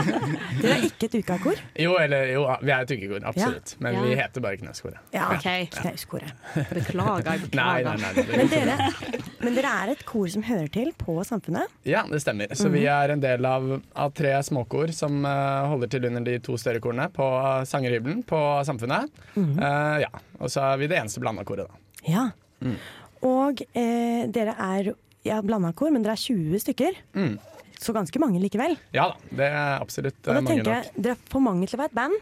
F: Dere er ikke et ukakor.
M: jo, eller jo, ah, vi er et ukekor, absolutt. Men vi heter bare knausgård.
F: Ja,
M: ja.
D: OK.
F: Knauskoret.
D: Beklager.
M: Nei, nei,
D: beklager.
M: nei. det-
F: Men dere, men dere er et kor som hører til på Samfunnet.
M: Ja, det stemmer. Så
L: Mhm.
M: vi er en del av, av tre småkor som eh, holder til under de to større korene på sangerhybelen på Samfunnet.
L: Mhm.
M: Eh, ja, Og så er vi det eneste blanda koret, da.
F: Ja. Mm. Og eh, dere er ja, blanda kor, men dere er 20 stykker. Så ganske mange likevel.
M: Ja da, Mm. det er absolutt
F: Og
M: eh,
F: da
M: mange
F: tenker
M: nok.
F: jeg, Dere er for mange til å være et band,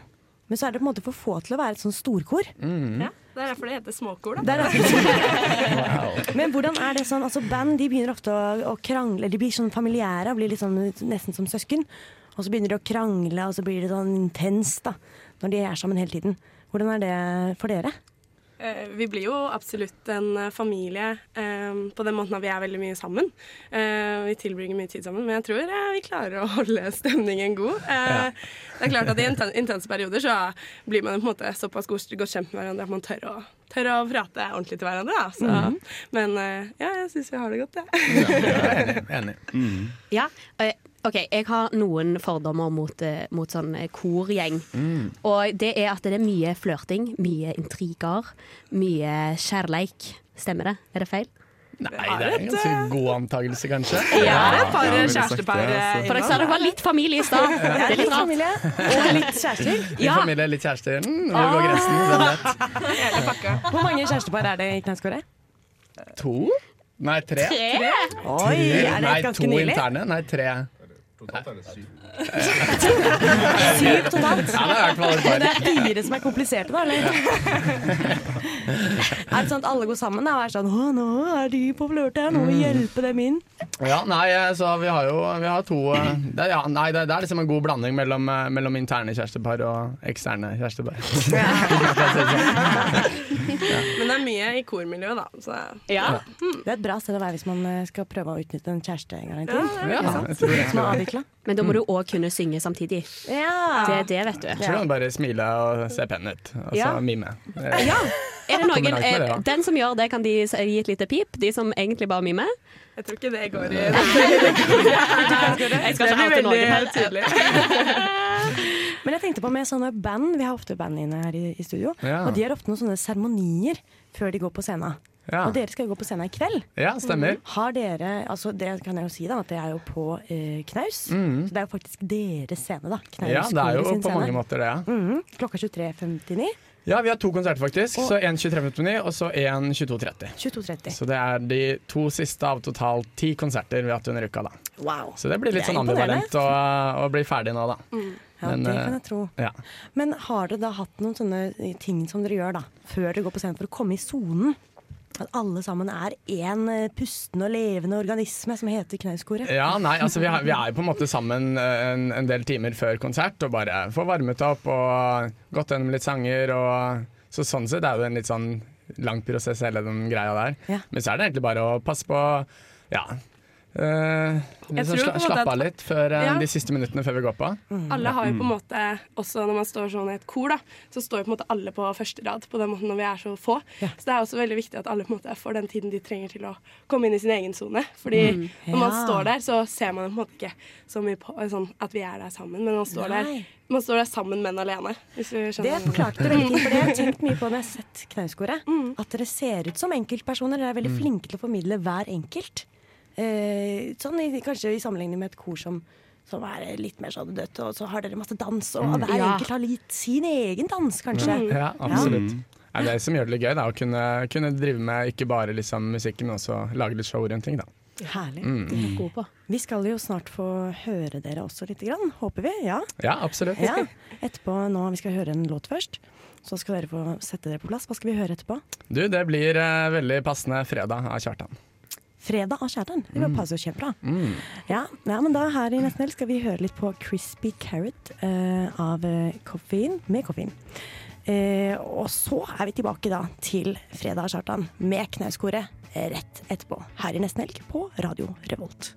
F: men så er dere på en måte for få til å være et sånn storkor.
K: Det er derfor det heter småkor, da.
F: Der er- men hvordan er det sånn? Altså Band de begynner ofte å, å krangle. De blir sånn familiære og blir litt sånn, nesten som søsken. Og så begynner de å krangle, og så blir det sånn intenst da når de er sammen hele tiden. Hvordan er det for dere?
K: Eh, Vi blir jo absolutt en eh, familie eh, på den måten at vi er veldig mye sammen. Eh, Vi tilbringer mye tid sammen, men jeg tror eh, vi klarer å holde stemningen god. Eh, Det er klart at I inten- intense perioder så blir man på en måte såpass godt godt kjent med hverandre at man tør å, tør å prate ordentlig til hverandre. Da. Så, Men eh, ja, jeg syns vi har det godt, jeg.
M: Ja, jeg er enig. enig.
D: Ja, eh, OK, jeg har noen fordommer mot, eh, mot sånn eh, korgjeng.
M: Mm.
D: Og det er at det er mye flørting, mye intriger, mye kjærleik. Stemmer det? Er det feil?
M: Nei, det er en ganske god antakelse, kanskje.
K: Det er et par
M: Ja, ville sagt det,
K: kjærestepar eh,
M: altså.
D: For dere sa det var litt familie i stad. Det er litt
F: Litt
D: rart.
F: familie og litt kjærester.
M: Litt familie, litt kjærester. Mm,
L: Ah.
M: hvor går grensen? Hvem vet?
F: Hvor mange kjærestepar er det i Knausgårde?
M: To? Nei, tre.
F: Oi, er det
M: Nei,
F: et
M: to
F: ganske nylig?
M: interne. Nei, tre. Ja,
F: Syv totalt?
M: det er i hvert fall et
F: Det
M: par.
F: er fire som er kompliserte, da? Eller? er det sånn at alle går sammen da, og er sånn Å, nå er de på flørte her, nå må vi
M: Mm.
F: hjelpe dem inn.
M: Ja, nei, eh, så vi har jo vi har to eh, det, er- ja, Nei, det, det er liksom en god blanding mellom, eh, mellom interne kjærestepar og eksterne kjærestepar.
K: Men det er mye i kormiljøet, da. Så
F: Det er et bra sted å være hvis man eh, skal prøve å utnytte en kjæreste en gang i
K: ja,
F: tiden.
K: det er
M: Ja, jeg
F: Som
M: tror egentlig
F: er
M: det.
F: avvikla.
D: Men da må du òg kunne synge samtidig.
F: Ja.
D: Det er det, vet du.
M: Jeg tror han bare smile og se pen ut. Og så
F: Ja.
M: mime.
D: Ja. Er det
M: Kommer
D: noen,
M: langt med det,
D: eh,
M: ja.
D: den som gjør det, kan de s- gi et lite pip? De som egentlig bare mimer?
K: Jeg tror ikke det går i
D: Jeg
K: Det
D: skal ikke
K: blir
D: oute noen her.
K: veldig tydelig.
F: Men jeg tenkte på med sånne band, vi har ofte band inne her i, i studio,
M: Ja.
F: og de har ofte noen sånne seremonier før de går på scenen.
M: Ja.
F: Og dere skal jo gå på scenen i kveld.
M: Ja, stemmer.
B: Mm.
F: Har dere, altså Det kan jeg jo si, da, at det er jo på eh, knaus. Så det er jo faktisk deres scene, da. Knaus
M: Mm. Ja, det er
F: koret
M: jo
F: sin
M: på
F: scene.
M: mange måter det. ja.
F: Mhm. Klokka 23.59.
M: Ja, vi har to konserter faktisk. Så en 23 minutter på ni, og så en 22.30.
F: 22.30.
M: Så det er de to siste av totalt ti konserter vi har hatt under uka. da.
F: Wow.
M: Så det blir litt
F: Det er
M: sånn
F: imponerende.
M: ambivalent å, å bli ferdig nå, da.
F: Ja,
M: Men,
F: det
M: eh,
F: kan jeg tro.
M: Ja.
F: Men har dere da hatt noen sånne ting som dere gjør da, før dere går på scenen for å komme i sonen? At alle sammen er én eh, pustende og levende organisme som heter Knauskoret?
M: ja, nei, altså vi, har, vi er jo på en måte sammen eh, en, en del timer før konsert og bare får varmet opp og gått gjennom litt sanger og Så sånn sett er det en litt sånn lang prosess, hele den greia der.
F: Ja.
M: Men så er det egentlig bare å passe på, ja. eh, liksom
K: tror på en
M: sla,
K: måte at-
M: slappe av litt før eh,
K: Ja. Mm.
M: de siste minuttene før vi går på. Mm.
K: Alle har jo på en måte, også når man står sånn i et kor, da, så står jo på en måte alle på første rad på den måten når vi er så få. Så det er også veldig viktig at alle på en måte får den tiden de trenger til å komme inn i sin egen sone. Fordi
M: Mm.
K: når man
F: Ja.
K: står der, så ser man på en måte ikke så mye på sånn at vi er der sammen, men man står, der,
F: Nei.
K: man står der sammen, men alene. Hvis du skjønner. hva
F: Det
K: jeg mener.
F: forklarte dere ikke, for det har jeg tenkt mye på når jeg har sett Knauskoret. At dere ser ut som enkeltpersoner. Dere er
M: Mm.
F: veldig flinke til å formidle hver enkelt. Eh, sånn i, kanskje i sammenligning med et kor som, som er litt mer sånn dødt, og så har dere masse dans, og hver
D: Ja.
F: enkelt har litt sin egen dans, kanskje.
M: Mm. Ja, absolutt. Ja, det som gjør det litt gøy, det er å kunne, kunne drive med ikke bare liksom, musikken, men også lage litt show rundt ting. Da.
F: Herlig.
D: God på.
F: Vi skal jo snart få høre dere også lite grann, håper vi. Ja.
M: Ja, absolutt.
F: ja. Etterpå nå, vi skal høre en låt først. Så skal dere få sette dere på plass. Hva skal vi høre etterpå?
M: Du, det blir eh, veldig passende fredag av Kjartan. Mm.
F: Fredag av Kjærtern. Det var- passer jo kjempebra. Ja, ja, men da her i Nesten Helg skal vi høre litt på Crispy Carrot eh, av eh, koffein, med koffein. Eh, og så er vi tilbake da til Fredag av Kjartan med Knauskoret eh, rett etterpå. Her i Nesten Helg på Radio Revolt.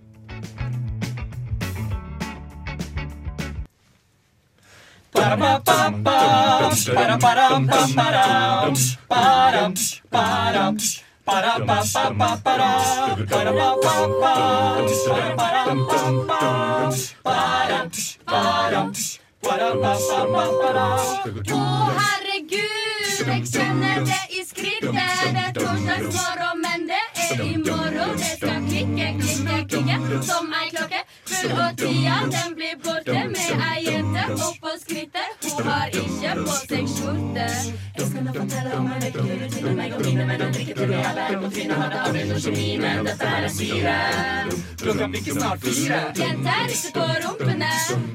A: herregud, jeg kjenner det i skrittet. Det er torsdagsmorgen, men det er i morgen. Det skal klikke, klikke, klikke som ei klokke. Full og tida, den blir borte med ei jente oppå skrittet. Hun har ikke på seg skjorte. Jeg skal nå fortelle om ei lekkerutine meg og mine venner drikker til vi er bare mot trynet. Hadde aldri noe geni, men dette er syre.
N: Klokka bikker snart fire.
A: Jenter rister på rumpene.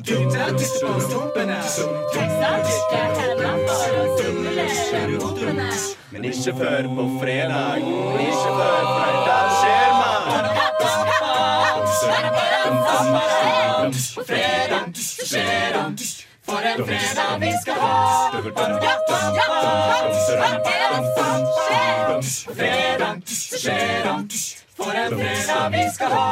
N: Gutter tisser på stumpene.
A: Tekster bruker hendene for å stimulere pumpene.
N: Men ikke før på fredag. Men ikke før fredag skjer man. På fredag så skjer man. For en fredag vi skal ha. På fredag så skjer man. For en fredag vi skal ha.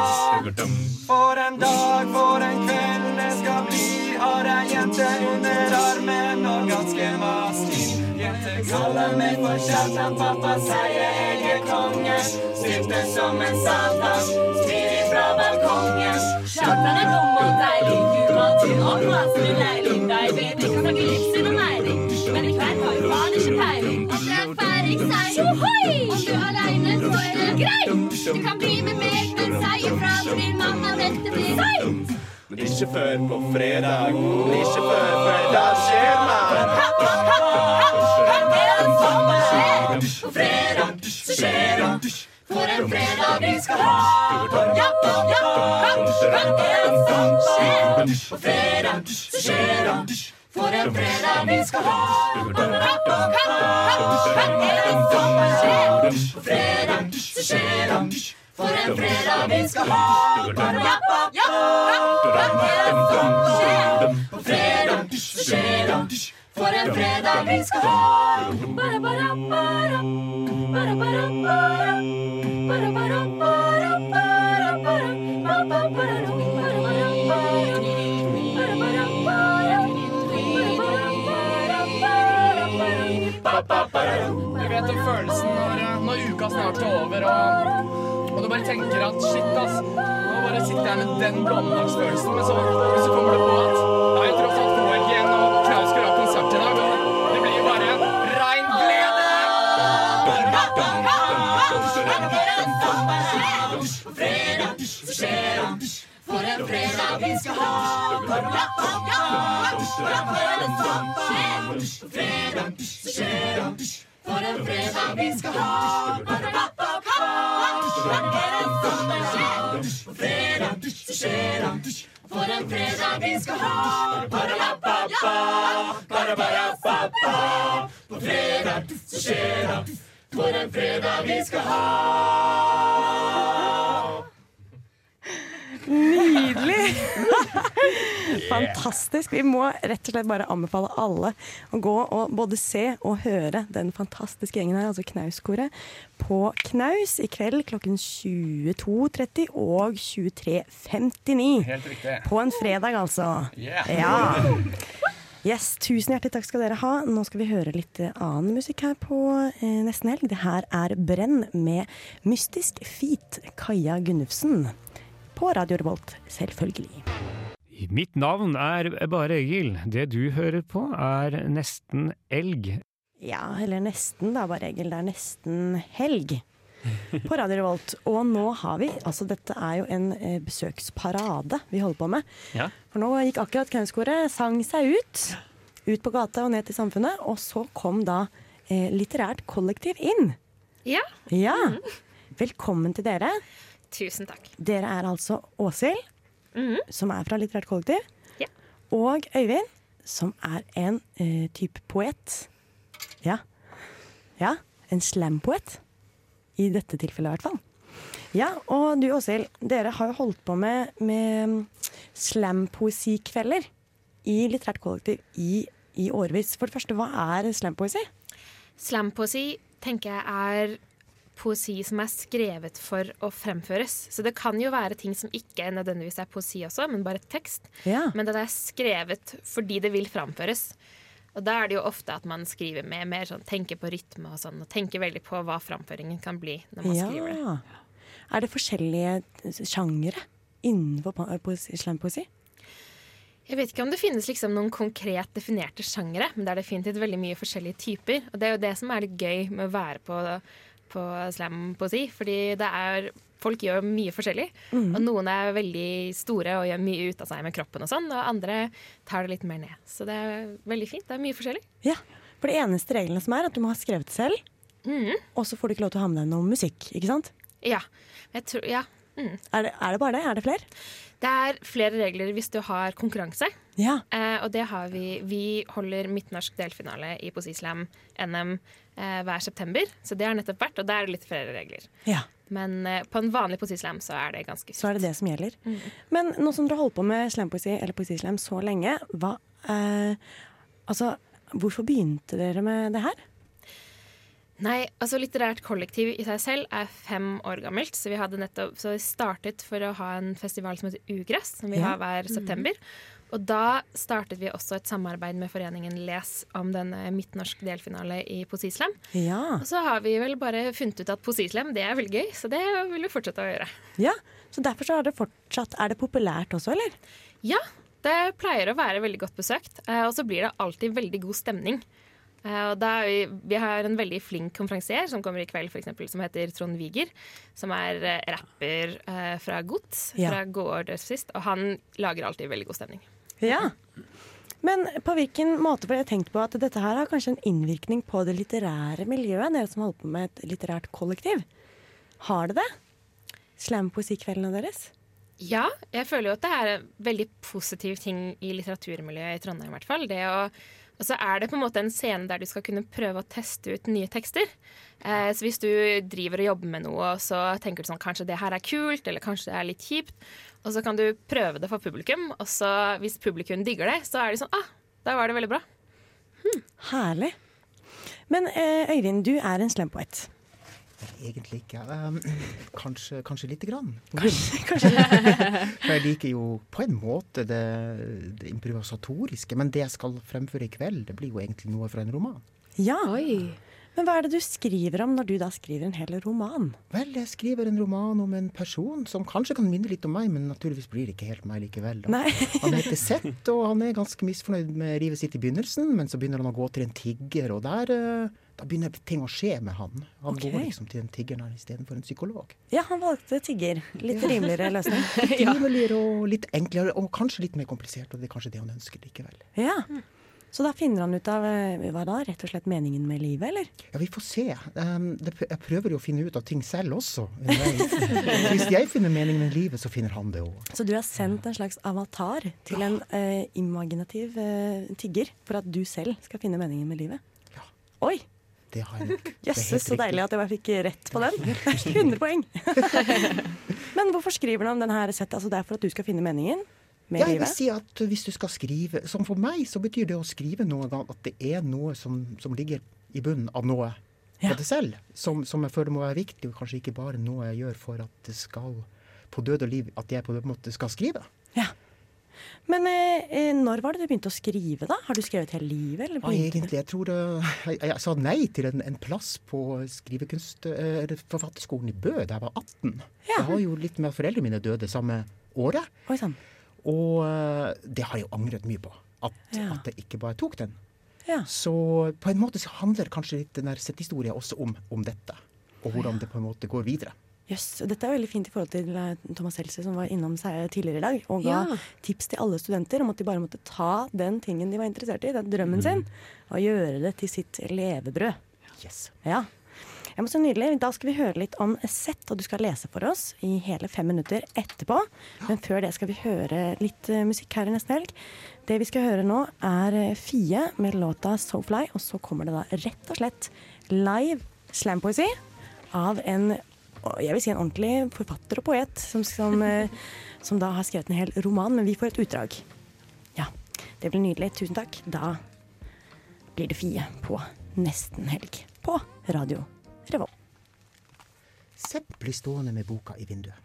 N: For en dag, for en kveld det skal bli. Har ei jente under armen og ganske maskin. Jente kaller meg for Kjartan, pappa sier jeg er kongen. Stilte som en saltan, smidig fra balkongen.
A: Sjarten er dum og deilig. Du må til Årdals vileiling. De vet ikke noe livssyn og mening. Men i kveld har jeg faen ikke peiling. Om du er ferdig, si tjohoi! Om du er aleine, så er det greit. Du kan bli med meg, men si ifra til din mamma. Dette blir seigt.
N: Men ikke før på fredag. Men ikke før fredag skjer, mann.
A: På fredag så skjer det. For en fredag vi skal ha! Ja, ja, ja, ja, det er det som skjer. På fredag så skjer det. For en fredag vi skal ha! Ja, ja, ja, det er det som skjer. På fredag så skjer det. For en fredag vi skal ha! Ja, ja, ja, det er det som skjer. På fredag så skjer det. For en fredag vi skal ha! Bara, bara, bara. Bara, bara, bara. Bara, bara, bara, bara, bara. Ba, ba, bara, ro. Bara, bara, bara. Bara, bara, bara. Bara, bara, bara, bara, bara. Ba, ba, bara, ro.
O: Du vet den følelsen når, når uka snart er over, og, og du bare tenker at shit, ass. Nå bare sitter jeg med den blåmandagsfølelsen, men så, så kommer det på at det er tross alt KRG igjen, og Knaus skal ha konsert i dag. Og det blir jo bare rein glede!
A: For en fredag vi skal ha! Fredag så skjer det. For en fredag vi skal ha! Fredag så skjer det. For en fredag vi skal ha! På fredag så skjer det. For en fredag vi skal ha!
F: Nydelig! Fantastisk. Vi må rett og slett bare anbefale alle å gå og både se og høre den fantastiske gjengen her, altså Knauskoret, på Knaus i kveld klokken 22.30 og 23.59.
M: Helt riktig.
F: På en fredag, altså.
M: Yeah.
F: Ja. Yes, Tusen hjertelig takk skal dere ha. Nå skal vi høre litt eh, annen musikk her på eh, Nesten Helg. Det her er Brenn med Mystisk Feet, Kaja Gunnufsen. På Radio Revolt, selvfølgelig.
P: Mitt navn er Bare Egil. Det du hører på er Nesten Elg.
F: Ja, eller nesten, da, bare Egil. Det er nesten helg på Radio Revolt. Og nå har vi Altså, dette er jo en eh, besøksparade vi holder på med.
E: Ja.
F: For nå gikk akkurat Knauskoret, sang seg ut. Ut på gata og ned til samfunnet. Og så kom da eh, litterært kollektiv inn.
Q: Ja,
F: Ja. Velkommen til dere.
Q: tusen takk.
F: Dere er altså Åshild, som er fra Litterært kollektiv.
Q: Mhm. Ja.
F: Og Øyvind, som er en eh, type poet. Ja. ja. En slampoet. I dette tilfellet, i hvert fall. Ja, og du Åshild, dere har jo holdt på med, med slampoesikvelder i Litterært kollektiv i, i årevis. For det første, hva er slampoesi?
Q: Slampoesi tenker jeg er poesi som er skrevet for å fremføres. Så det kan jo være ting som ikke nødvendigvis er poesi også, men bare tekst.
F: Ja.
Q: Men den er skrevet fordi det vil framføres. Og da er det jo ofte at man skriver med mer sånn tenker på rytme og sånn, og tenker veldig på hva framføringen kan bli når man skriver det.
F: Er det forskjellige sjangere innenfor pa- poesi- slampoesi?
Q: Jeg vet ikke om det finnes liksom noen konkret definerte sjangere, men det er definitivt veldig mye forskjellige typer. Og det er jo det som er litt gøy med å være på, på slam, på å si. Fordi det er, folk gjør mye forskjellig.
F: Mhm.
Q: Og noen er veldig store og gjør mye ut av seg med kroppen og sånn. Og andre tar det litt mer ned. Så det er veldig fint. Det er mye forskjellig.
F: Ja, for det eneste reglene som er at du må ha skrevet det selv,
Q: Mhm.
F: og så får du ikke lov til å ha med deg noe musikk, ikke sant?
Q: Ja. Jeg tror, ja. Mm.
F: Er det, er det bare det? Er det flere?
Q: Det er flere regler hvis du har konkurranse.
F: Ja.
Q: Eh, og det har vi. Vi holder midtnorsk delfinale i Poesislam NM eh, hver september. Så det har nettopp vært, og da er det litt flere regler.
F: Ja.
Q: Men eh, på en vanlig Poesislam så er det ganske
F: Så er det det som gjelder.
Q: Mm.
F: Men nå som dere holder på med slampoesi eller poesislam så lenge, hva, eh, altså, hvorfor begynte dere med det her?
Q: Nei, altså litterært kollektiv i seg selv er fem år gammelt, så vi hadde nettopp så vi startet for å ha en festival som heter Ugress, som vi
B: Ja.
Q: har hver
B: Mhm.
Q: september. Og da startet vi også et samarbeid med foreningen Les om denne midtnorsk delfinale i Poesislam.
F: Ja.
Q: Og så har vi vel bare funnet ut at Posislem, det er veldig gøy, så det vil vi fortsette å gjøre.
F: Ja, Så derfor så er det fortsatt Er det populært også, eller?
Q: Ja, det pleier å være veldig godt besøkt. eh, Og så blir det alltid veldig god stemning. Eh, Vi, vi, har en veldig flink konferansier som kommer i kveld, for eksempel, som heter Trond Viger. Som er eh, rapper eh, fra Gods, ja. fra Gård sist. Og han lager alltid veldig god stemning.
F: Ja, men på hvilken måte, for jeg tenkte på at dette her har kanskje en innvirkning på det litterære miljøet, dere som holder på med et litterært kollektiv. Har det det? Slampoesikveldene deres?
Q: Ja, jeg føler jo at det er en veldig positiv ting i litteraturmiljøet i Trondheim i hvert fall. Det å og så er det på en måte en scene der du skal kunne prøve å teste ut nye tekster. Eh, så hvis du driver og jobber med noe, og så tenker du sånn kanskje det her er kult, eller kanskje det er litt kjipt, og så kan du prøve det for publikum, og så hvis publikum digger det, så er de sånn ah, da var det veldig bra.
F: Hmm. Herlig. Men eh, Øyvind, du er en slampoet.
E: Egentlig ikke. Um, kanskje, kanskje lite grann.
F: Kanskje, kanskje.
E: For jeg liker jo på en måte det, det, improvisatoriske, men det jeg skal fremføre i kveld, det blir jo egentlig noe fra en roman.
F: Ja. Oi. Men hva er det du skriver om når du da skriver en hel roman?
E: Vel, jeg skriver en roman om en person som kanskje kan minne litt om meg, men naturligvis blir det ikke helt meg likevel. han heter Sett, og han er ganske misfornøyd med livet sitt i begynnelsen, men så begynner han å gå til en tigger, og der eh, da begynner ting å skje med han. Han okay. går liksom til en tiggeren her istedenfor en psykolog.
F: Ja, han valgte tigger. Litt rimeligere løsning.
E: litt rimeligere og litt enklere, og kanskje litt mer komplisert, og det er kanskje det han ønsker likevel.
F: Ja. Så da finner han ut av eh, hva da, rett og slett meningen med livet, eller?
E: Ja, vi får se. Um, det, jeg prøver jo å finne ut av ting selv også. Hvis jeg finner meningen med livet, så finner han det òg.
F: Så du har sendt en slags avatar til en uh, imaginativ uh, tigger for at du selv skal finne meningen med livet?
E: Ja.
F: Oi!
E: Det har jeg nok.
F: Jøsses, så deilig at jeg bare fikk rett på den. 100 poeng. Men hvorfor skriver du om denne sett? Altså, det er for at du skal finne meningen?
E: Ja, jeg vil si at hvis du skal skrive Som for meg så betyr det å skrive noe at det er noe som, som ligger i bunnen av noe ja. det selv, som, som, jeg føler må være viktig, og kanskje ikke bare noe jeg gjør for at det skal på død og liv at jeg på en måte skal skrive.
F: Ja. Men eh, når var det du begynte å skrive, da? Har du skrevet hele livet?
E: Ja, egentlig, jeg tror uh, jeg, jeg, sa nei til en, en plass på skrivekunst... Uh, forfatterskolen i Bø da jeg var 18. Ja. Jeg har jo litt med at foreldrene mine døde samme året.
F: Oi, sånn.
E: Og uh, det har jeg jo angret mye på. At, ja. at jeg ikke bare tok den. Så på en måte så handler kanskje litt den setthistorien også om, om, dette. Og hvordan det på en måte går videre.
F: Yes, dette er veldig fint i forhold til eh, Thomas Seltzer som var innom seg tidligere i dag og ga ja. tips til alle studenter om at de bare måtte ta den tingen de var interessert i, den drømmen mm. sin, og gjøre det til sitt levebrød.
E: Yes.
F: Ja. Jeg må så nydelig. Da skal vi høre litt om Sett, og du skal lese for oss i hele fem minutter etterpå. Men før det skal vi høre litt eh, musikk her i neste helg. Det vi skal høre nå, er eh, Fie med låta 'Sofly', og så kommer det da rett og slett live slampoesi av en jeg vil si en ordentlig forfatter og poet, som, som, eh, som, da har skrevet en hel roman, men vi får et utdrag. Ja, det blir nydelig. Tusen takk. Da blir det Fie på nesten helg på Radio Revolt.
E: Sepp blir stående med boka i vinduet.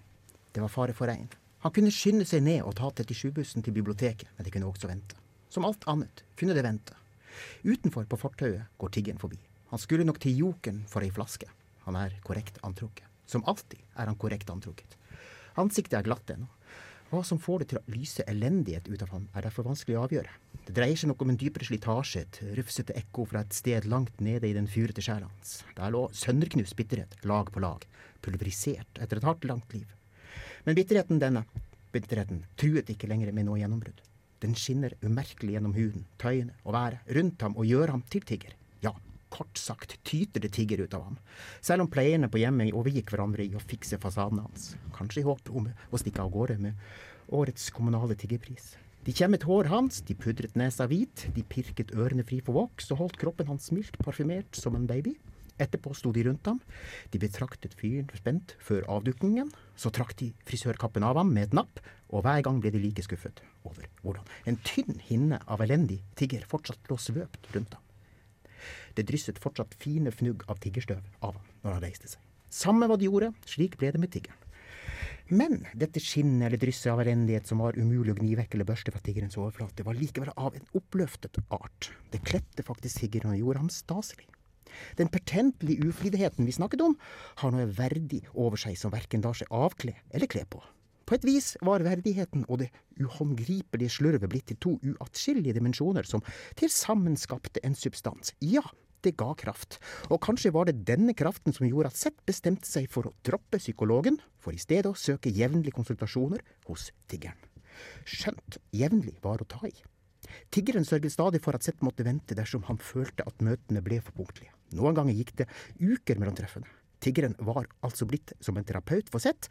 E: Det var fare for regn. Han kunne skynde seg ned og ta 37-bussen til biblioteket, men det kunne også vente. Som alt annet kunne det vente. Utenfor, på fortauet, går tiggeren forbi. Han skulle nok til Jokeren for ei flaske. Han er korrekt antrukket. Som alltid er han korrekt antrukket. Ansiktet er glatt ennå. Hva som får det til å lyse elendighet ut av ham, er derfor vanskelig å avgjøre. Det dreier seg nok om en dypere slitasje, et rufsete ekko fra et sted langt nede i den furete sjela hans. Der lå sønderknust bitterhet, lag på lag, pulverisert etter et hardt, langt liv. Men bitterheten denne, bitterheten, truet ikke lenger med noe gjennombrudd. Den skinner umerkelig gjennom huden, tøyene og været rundt ham og gjør ham til tigger. Ja, kort sagt tyter det tigger ut av ham, selv om pleierne på hjemmet overgikk hverandre i å fikse fasaden hans, kanskje i håp om å stikke av gårde med årets kommunale tiggerpris. De kjemmet håret hans, de pudret nesa hvit, de pirket ørene fri for voks og holdt kroppen hans mildt parfymert som en baby. Etterpå sto de rundt ham, de betraktet fyren spent før avdukningen, så trakk de frisørkappen av ham med et napp, og hver gang ble de like skuffet over hvordan en tynn hinne av elendig tigger fortsatt lå svøpt rundt ham. Det drysset fortsatt fine fnugg av tiggerstøv av ham når han reiste seg. Samme hva de gjorde, slik ble det med tiggeren. Men dette skinnet eller drysset av elendighet som var umulig å gni vekk eller børste fra tiggerens overflate, var likevel av en oppløftet art. Det kledde faktisk tiggeren og gjorde ham staselig. Den pertentlige ufridigheten vi snakket om, har noe verdig over seg som verken lar seg avkle eller kle på. På et vis var verdigheten og det uhåndgripelige slurvet blitt til to uatskillelige dimensjoner som til sammen skapte en substans. Ja, det ga kraft, og kanskje var det denne kraften som gjorde at Seth bestemte seg for å droppe psykologen, for i stedet å søke jevnlige konsultasjoner hos tiggeren. Skjønt jevnlig var å ta i. Tiggeren sørget stadig for at Seth måtte vente dersom han følte at møtene ble for punktlige. Noen ganger gikk det uker mellom treffene. Tiggeren var altså blitt som en terapeut for Seth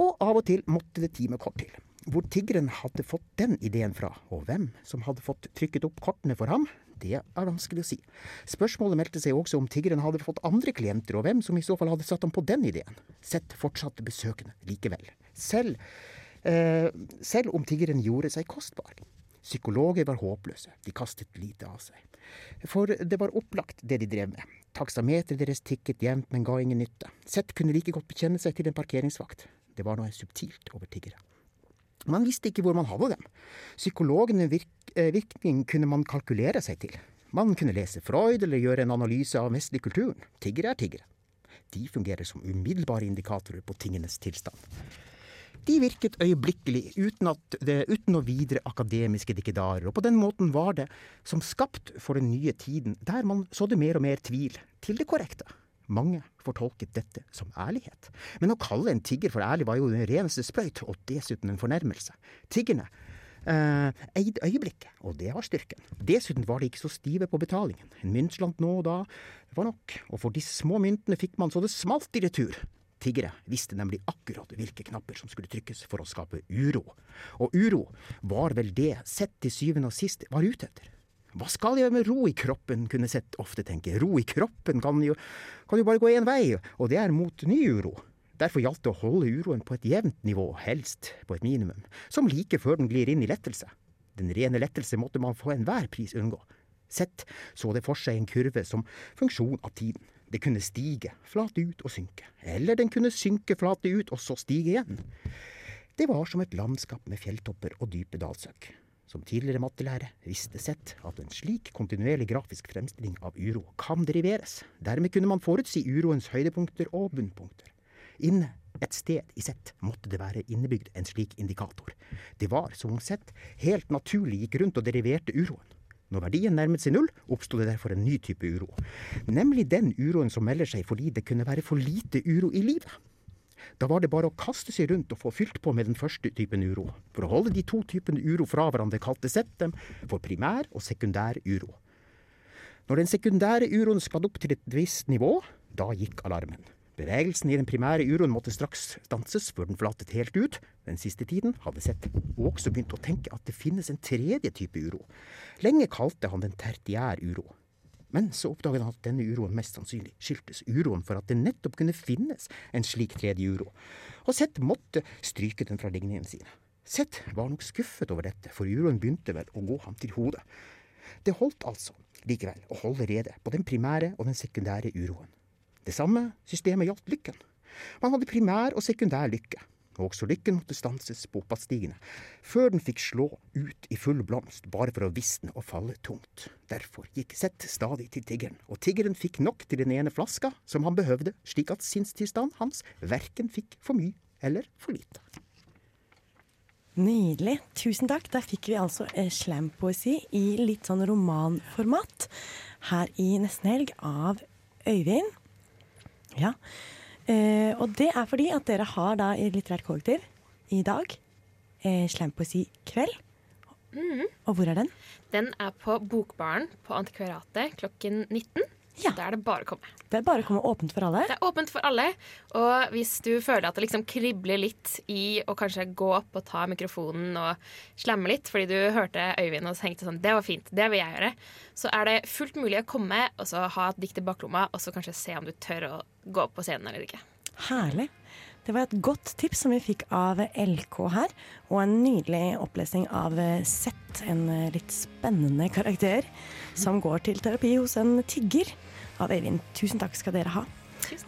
E: og av og til måtte det time kort til. Hvor tiggeren hadde fått den ideen fra, og hvem som hadde fått trykket opp kortene for ham, det er vanskelig å si. Spørsmålet meldte seg også om tiggeren hadde fått andre klienter, og hvem som i så fall hadde satt ham på den ideen. Sett fortsatte besøkende likevel. Selv, eh, selv om tiggeren gjorde seg kostbar. Psykologer var håpløse, de kastet lite av seg. For det var opplagt det de drev med. Taksameteret deres tikket jevnt, men ga ingen nytte. Sett kunne like godt bekjenne seg til en parkeringsvakt. Det var noe subtilt over tiggere. Man visste ikke hvor man hadde dem. Psykologene virk, eh, virkning kunne man kalkulere seg til. Man kunne lese Freud eller gjøre en analyse av vestlig kulturen. Tiggere er tiggere. De fungerer som umiddelbare indikatorer på tingenes tilstand. De virket øyeblikkelig, uten, det, uten noe videre akademiske dikkedarer, og på den måten var det som skapt for den nye tiden, der man sådde mer og mer tvil til det korrekte. Mange fortolket dette som ærlighet. Men å kalle en tigger for ærlig var jo den reneste sprøyt, og dessuten en fornærmelse. Tiggerne eh, eide øyeblikket, og det var styrken. Dessuten var de ikke så stive på betalingen. En myntslant nå og da var nok, og for de små myntene fikk man så det smalt i retur. Tiggere visste nemlig akkurat hvilke knapper som skulle trykkes for å skape uro. Og uro var vel det sett til syvende og sist var ute etter. Hva skal jeg med ro i kroppen, kunne Sett ofte tenke. Ro i kroppen kan jo, kan jo bare gå én vei, og det er mot ny uro. Derfor gjaldt det å holde uroen på et jevnt nivå, helst på et minimum, som like før den glir inn i lettelse. Den rene lettelse måtte man for enhver pris unngå. Sett så det for seg en kurve som funksjon av tiden. Det kunne stige, flate ut og synke, eller den kunne synke, flate ut og så stige igjen. Det var som et landskap med fjelltopper og dype dalsøkk. Som tidligere mattelærer visste Sett at en slik kontinuerlig grafisk fremstilling av uro kan deriveres. Dermed kunne man forutsi uroens høydepunkter og bunnpunkter. Inne et sted i Sett måtte det være innebygd en slik indikator. Det var som om Sett helt naturlig gikk rundt og deriverte uroen. Når verdien nærmet seg null, oppsto det derfor en ny type uro. Nemlig den uroen som melder seg fordi det kunne være for lite uro i livet. Da var det bare å kaste seg rundt og få fylt på med den første typen uro. For å holde de to typene uro fra hverandre kalte Sett dem for primær og sekundær uro. Når den sekundære uroen skal opp til et visst nivå, da gikk alarmen. Bevegelsen i den primære uroen måtte straks stanses før den flatet helt ut. Den siste tiden hadde Sett også begynt å tenke at det finnes en tredje type uro. Lenge kalte han den tertiær uro. Men så oppdaget han at denne uroen mest sannsynlig skyldtes uroen for at det nettopp kunne finnes en slik tredje uro, og Seth måtte stryke den fra ligningene sine. Seth var nok skuffet over dette, for uroen begynte vel å gå ham til hodet. Det holdt altså likevel å holde rede på den primære og den sekundære uroen. Det samme systemet gjaldt lykken. Man hadde primær og sekundær lykke. og Også lykken måtte stanses på oppadstigende, før den fikk slå ut i full blomst, bare for å visne og falle tungt. Derfor gikk Sett stadig til tiggeren, og tiggeren fikk nok til den ene flaska som han behøvde, slik at sinnstilstanden hans verken fikk for mye eller for lite.
F: Nydelig. Tusen takk. Der fikk vi altså slampoesi i litt sånn romanformat her i Nesten Helg av Øyvind. Ja. Eh, og det er fordi at dere har da i Litterært kollektiv i dag eh, slampoesi kveld. Mm. Og hvor er den?
Q: Den er på Bokbaren på Antikvariatet klokken 19. Ja. Da er det bare å komme.
F: Det er bare å komme åpent for alle?
Q: Det er åpent for alle. Og hvis du føler at det liksom kribler litt i å kanskje gå opp og ta mikrofonen og slamme litt fordi du hørte Øyvind og tenkte sånn Det var fint, det vil jeg gjøre. Så er det fullt mulig å komme og så ha et dikt i baklomma og så kanskje se om du tør å gå opp på scenen eller ikke.
F: Herlig. Det var et godt tips som vi fikk av LK her, og en nydelig opplesning av Sett, en litt spennende karakter som går til terapi hos en tigger av Øyvind. Tusen takk skal dere ha.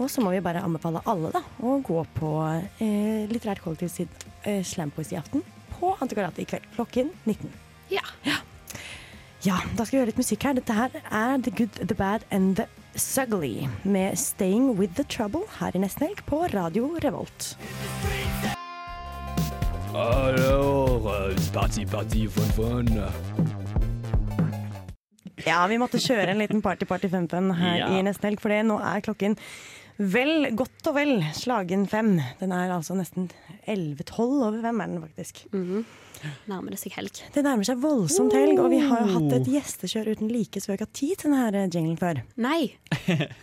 F: Og så må vi bare anbefale alle da, å gå på eh, Litterært kollektiv sin eh, slampoesiaften på Antikvariatet i kveld klokken 19.
Q: Ja.
F: ja. Ja, da skal vi gjøre litt musikk her. Dette her er The Good, The Bad and The Sugly med 'Staying With The Trouble' her i Nesten Helg på Radio Revolt.
B: Alors, c'est parti, parti, fun, fun.
F: Ja, vi måtte kjøre en liten Party Party 5-5 her
B: Ja.
F: i nesten helg, for det nå er klokken vel, godt og vel, slagen fem. Den er altså nesten 11-12 over fem, er den faktisk.
D: Nærmer det seg helg.
F: Det nærmer seg voldsomt helg, og vi har jo hatt
B: Oh.
F: et gjestekjør uten like som vi ikke har tid til denne her eh, jinglen før.
D: Nei.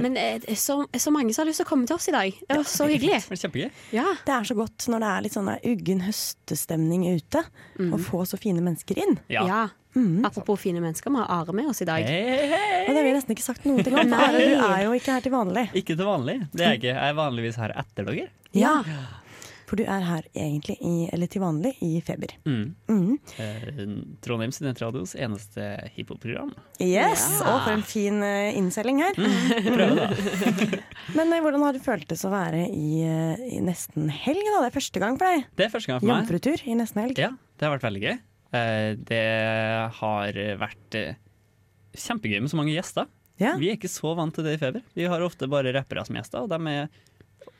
D: Men eh, det er så, så mange som har lyst til å komme til oss i dag. Det var så hyggelig.
B: Kjempegøy.
F: Det er så godt når det er litt sånn der uggen høstestemning ute,
B: Mm.
F: å få så fine mennesker inn.
D: Ja. Mm. Apropos fine mennesker, vi har Are med oss i dag.
F: Og det har vi nesten ikke sagt noe til om, for Are, du er jo ikke her til vanlig.
B: Ikke til vanlig. Det er jeg ikke. Jeg er vanligvis her etter dere.
F: Ja. For du er her egentlig, i, eller til vanlig, i Feber.
B: Mm.
F: Mhm.
B: Eh, Trondheim Studentradios eneste hiphop-program.
F: Yes,
B: Ja.
F: og for en fin eh, innseiling her.
B: Prøve, da.
F: Men eh, hvordan har det føltes å være i, eh, i nesten helg? da? Det er første gang for deg.
B: Det er første gang for meg.
F: Jomfrutur i nesten helg.
B: Ja, det har vært veldig gøy. Eh, Det har vært eh, kjempegøy med så mange gjester. Vi er ikke så vant til det i Feber. Vi har ofte bare rappere som gjester, og de er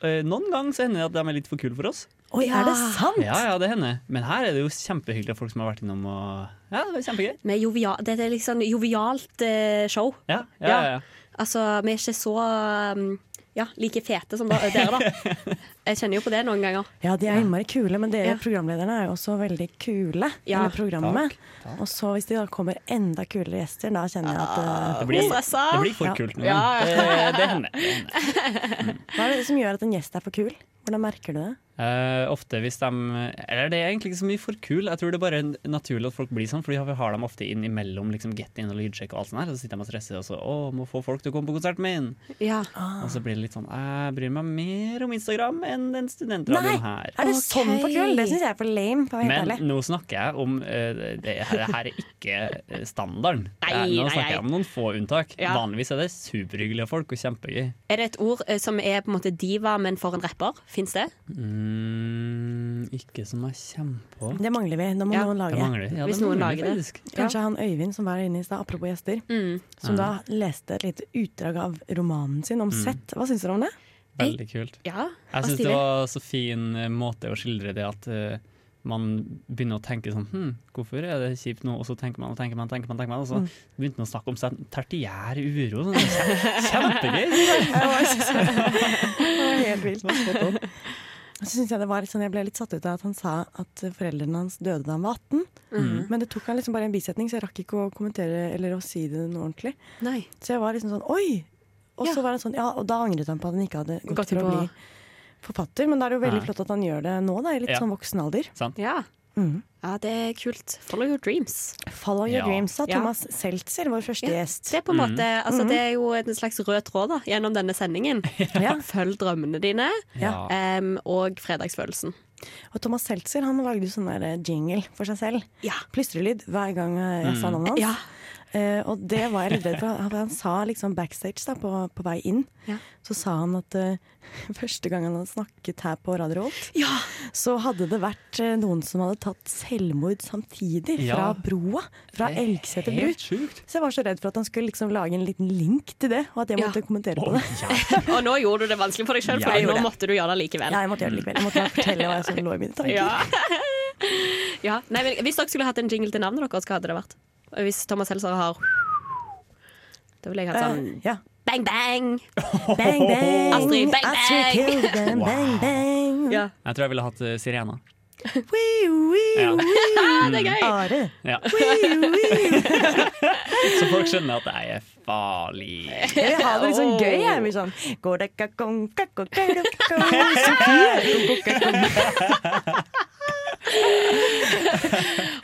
B: eh, noen ganger så hender det at de er litt for kule for oss.
F: Oi, er det sant?
B: Ja, ja, det hender. Men her er det jo kjempehyggelige folk som har vært innom og Ja, det var kjempegøy.
D: Med jovia, det er liksom jovialt eh, show.
B: Ja, ja, ja, ja.
D: Altså, vi er ikke så um, ja, like fete som da- dere, da. Jeg kjenner jo på det noen ganger.
F: Ja, de er innmari kule, men dere
D: Ja.
F: programlederne er jo også veldig kule
D: Ja.
F: med programmet. Og så hvis det da kommer enda kulere gjester, da kjenner jeg at eh,
B: Det blir,
D: stressa.
B: det blir for
F: Ja.
B: kult nå,
F: Ja,
B: men det,
F: ja.
B: det hender.
F: Hva er det som gjør at en gjest er for kul? Hvordan merker du det?
B: Eh, ofte hvis de Eller det er egentlig ikke så mye for kul. Jeg tror det er bare n- naturlig at folk blir sånn, for vi har dem ofte innimellom liksom get in og lydsjekk og alt sånt her. Og så sitter de og stresser og så Å, må få folk til å komme på konserten min.
D: Ja.
B: Og så blir det litt sånn Jeg bryr meg mer om Instagram enn den studentradioen her.
F: Er det sånn for kul? Det syns jeg er for lame, for å være helt
B: Men
F: ærlig.
B: nå snakker jeg om eh, det, her, det her er ikke eh, standarden.
D: Nei,
B: Det er- nå
D: nei,
B: snakker jeg om noen få unntak.
D: Ja.
B: Vanligvis er det superhyggelige folk og kjempegøy.
D: Er det et ord eh, som er på en måte diva, men for en rapper? Fins det?
B: Mm, ikke som jeg kommer på.
F: Det mangler vi. Da må
B: Ja.
F: noen lage
B: Det mangler vi. Ja,
D: Hvis det noen mangler vi lager det. faktisk.
F: Kanskje han Øyvind som var her inne i stad, apropos gjester, som da leste et lite utdrag av romanen sin om
B: Mm.
F: Sett. Hva syns dere om det?
B: Veldig kult.
D: Ja,
B: Jeg syns
F: hva
B: det
F: stilig.
B: var så fin eh, måte å skildre det at eh, man begynner å tenke sånn hm, hvorfor er det kjipt nå? Og så tenker man og tenker man, tenker man, tenker man og så
F: Mm.
B: begynte man å snakke om sånn tertiær uro. Sånn. Kjempegøy! synes jeg.
F: Det var helt vilt. Og så synes jeg det var litt sånn, Jeg ble litt satt ut av at han sa at foreldrene hans døde da han var 18.
D: Mm.
B: Mhm.
F: Men det tok han liksom bare en bisetning, så jeg rakk ikke å kommentere eller å si det noe ordentlig. Så jeg var liksom sånn oi! Og så var han sånn, ja, og da angret han på at han ikke hadde gått
D: Gått
F: for å
D: på-
F: bli forfatter. Men da er det jo veldig
D: Nei.
F: flott at han gjør det nå, da, i litt
D: Ja.
F: sånn voksen alder.
D: Ja.
F: Mhm.
D: ja, det er kult. Follow your dreams.
F: Follow your
D: Ja.
F: dreams, sa
D: Ja.
F: Thomas Seltzer, vår første gjest.
D: Det er, på en måte, altså,
F: Mhm.
D: det er jo en slags rød tråd da, gjennom denne sendingen. Følg drømmene dine
F: Ja.
D: em, og fredagsfølelsen.
F: Og Thomas Seltzer han lagde jo sånn der jingle for seg selv. Plystrelyd hver gang jeg sa
D: Mm.
F: navnet hans.
D: Ja.
F: Eh, og det var jeg litt redd for. Han- Han sa liksom backstage da, på, på vei inn, så sa han at eh, første gang han hadde snakket her på Radio Holt, så hadde det vært eh, noen som hadde tatt selvmord samtidig
B: Ja.
F: fra broa. Fra
B: Det er
F: Elgseter bru.
B: helt sjukt.
F: Så jeg var så redd for at han skulle liksom lage en liten link til det, og at jeg måtte kommentere på det.
D: og nå gjorde du det vanskelig for deg sjøl, for
F: Jeg gjorde
D: nå
F: det.
D: måtte du gjøre det likevel.
F: Ja, jeg måtte gjøre det likevel. Jeg måtte bare fortelle hva som lå i mine tanker.
D: Ja. Ja. Nei, men, hvis dere skulle hatt en jingle til navnet deres, hva hadde det vært? Og Hvis Thomas Helser har Da ville jeg hatt sånn
F: Eh, ja.
D: Bang, bang!
B: Sånn.
F: Bang, bang!
D: Astrid, bang,
F: Astrid
D: bang!
F: killed them, bang, bang!
D: Ja.
B: Jeg tror jeg ville hatt eh, Sirena.
F: Ja.
D: Det er gøy!
F: Are.
B: Ja. Så folk skjønner at jeg er farlig.
F: Jeg vil ha det litt sånn gøy. Jeg blir sånn Gorekakong, kakokakokong, Sofie, kakokakong.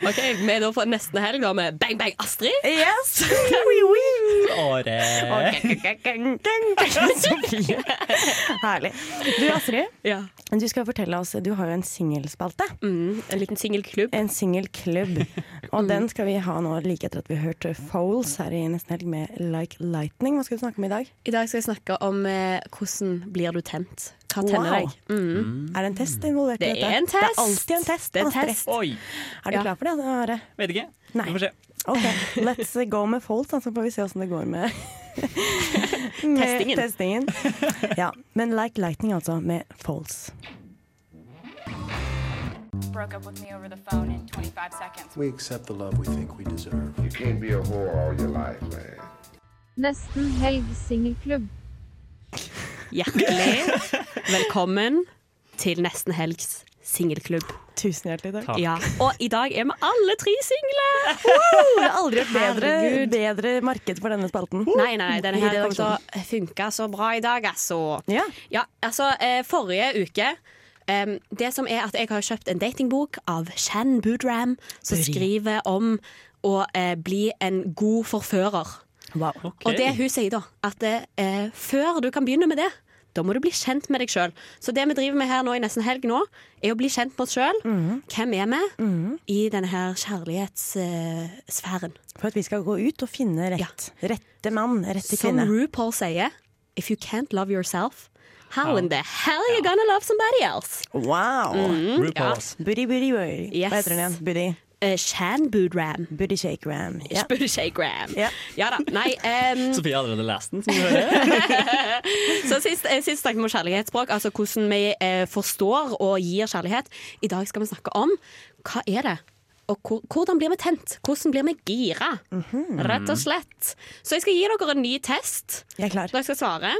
D: OK, vi er da på nesten helg da med Bang Bang Astrid.
F: Yes! Wee, wee.
B: Året.
F: Kakokakong, kakokakong, Sofie. Herlig. Du Astrid,
D: Ja.
F: du skal fortelle oss Du har jo en singelspalte.
D: en liten singelklubb.
F: En singelklubb.
D: Mm.
F: Og den skal vi ha nå like etter at vi har hørt Foles her i Nesten helg med Like Lightning. Hva skal du snakke om i dag?
D: I dag skal jeg snakke om eh, hvordan blir du tent. Hva tenner
F: Wow.
D: deg? Mm.
F: Er det en test involvert i
D: Det
F: dette?
D: er en
F: Det
D: test.
F: er alltid en test.
D: Det er en
F: Astrid.
D: test.
F: Er du
D: Ja.
F: klar for det, Are?
B: Vet ikke.
F: Nei.
B: Vi får se.
F: Ok, let's go med Folt, da, så får vi se åssen det går med med
D: Testingen.
F: testingen. Ja, men Like Lightning, altså, med Folds.
R: Broke up with me over the phone in 25 seconds.
S: We accept the love we think we deserve. You can't be a whore all your life, man.
T: Nesten helg singelklubb.
D: Hjertelig velkommen til Nesten helgs singelklubb.
F: Tusen hjertelig takk.
D: Ja. Og i dag er vi alle tre single!
F: Wow, det har aldri vært bedre, bedre, marked for denne spalten.
D: Nei, nei, denne her kommer til å funke så bra i dag, altså. Ja. ja altså, forrige uke Um, det som er at Jeg har kjøpt en datingbok av Shan Boodram, som skriver om å uh, bli en god forfører.
F: Wow. Okay.
D: Og det hun sier da, at uh, før du kan begynne med det, da må du bli kjent med deg sjøl. Så det vi driver med her nå i nesten helg nå, er å bli kjent med oss sjøl. Mm. Hvem er vi mm. i denne her kjærlighetssfæren? Uh,
F: For at vi skal gå ut og finne rett. Ja. Rette mann, rette kvinne.
D: Som RuPaul sier, if you can't love yourself, How in the hell are you gonna love somebody else?
F: Wow. Mm, RuPaul's. Ja. Booty, booty, booty. Yes. Hva heter den igjen? Booty.
D: Uh, Shan Boodram.
F: Booty Shake Ram.
D: Yeah. Booty Shake Ram. Yeah. Ja da. Nei
B: um... Sofie har allerede lest den, som du hører.
D: Så sist, eh, sist snakket vi om kjærlighetsspråk, altså hvordan vi eh, forstår og gir kjærlighet. I dag skal vi snakke om hva er det og hvordan blir vi tent? Hvordan blir vi gira? Mm -hmm. Rett og slett. Så jeg skal gi dere en ny test.
F: Jeg er klar.
D: Dere skal svare.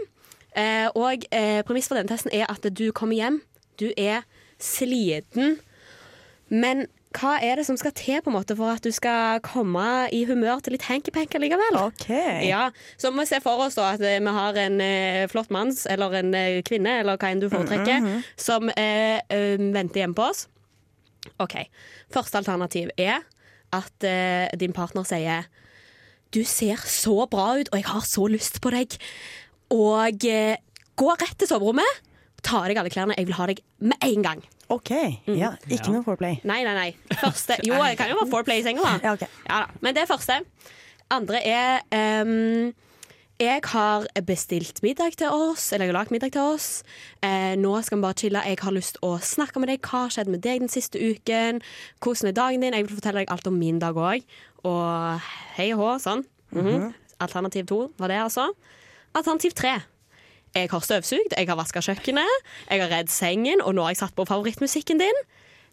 D: Eh, og eh, premiss for denne testen er at du kommer hjem, du er sliten. Men hva er det som skal til på en måte for at du skal komme i humør til litt hanky-panky likevel?
F: Okay.
D: Ja, så må vi se for oss da at vi har en eh, flott mann eller en eh, kvinne, eller hva enn du foretrekker, mm -hmm. som um, venter hjemme på oss. OK. Første alternativ er at eh, din partner sier du ser så bra ut, og jeg har så lyst på deg og eh, gå rett til soverommet. Ta av deg alle klærne. Jeg vil ha deg med en gang.
F: OK. Mm. Ja, ikke ja. noe foreplay.
D: Nei, nei, nei. Første, jo, det kan jo være foreplay i senga, da.
F: Ja, okay.
D: ja, da. Men det første. Andre er um, jeg har bestilt middag til oss, eller jeg har lagd middag til oss. Eh, nå skal vi bare chille. Jeg har lyst å snakke med deg. Hva har skjedd med deg den siste uken? Hvordan er dagen din? Jeg vil fortelle deg alt om min dag òg. Og hei og hå, sånn. Mm -hmm. Mm -hmm. Alternativ to var det, altså. Alternativ tre. Jeg har støvsugd, jeg har vaska kjøkkenet, jeg har redd sengen, og nå har jeg satt på favorittmusikken din.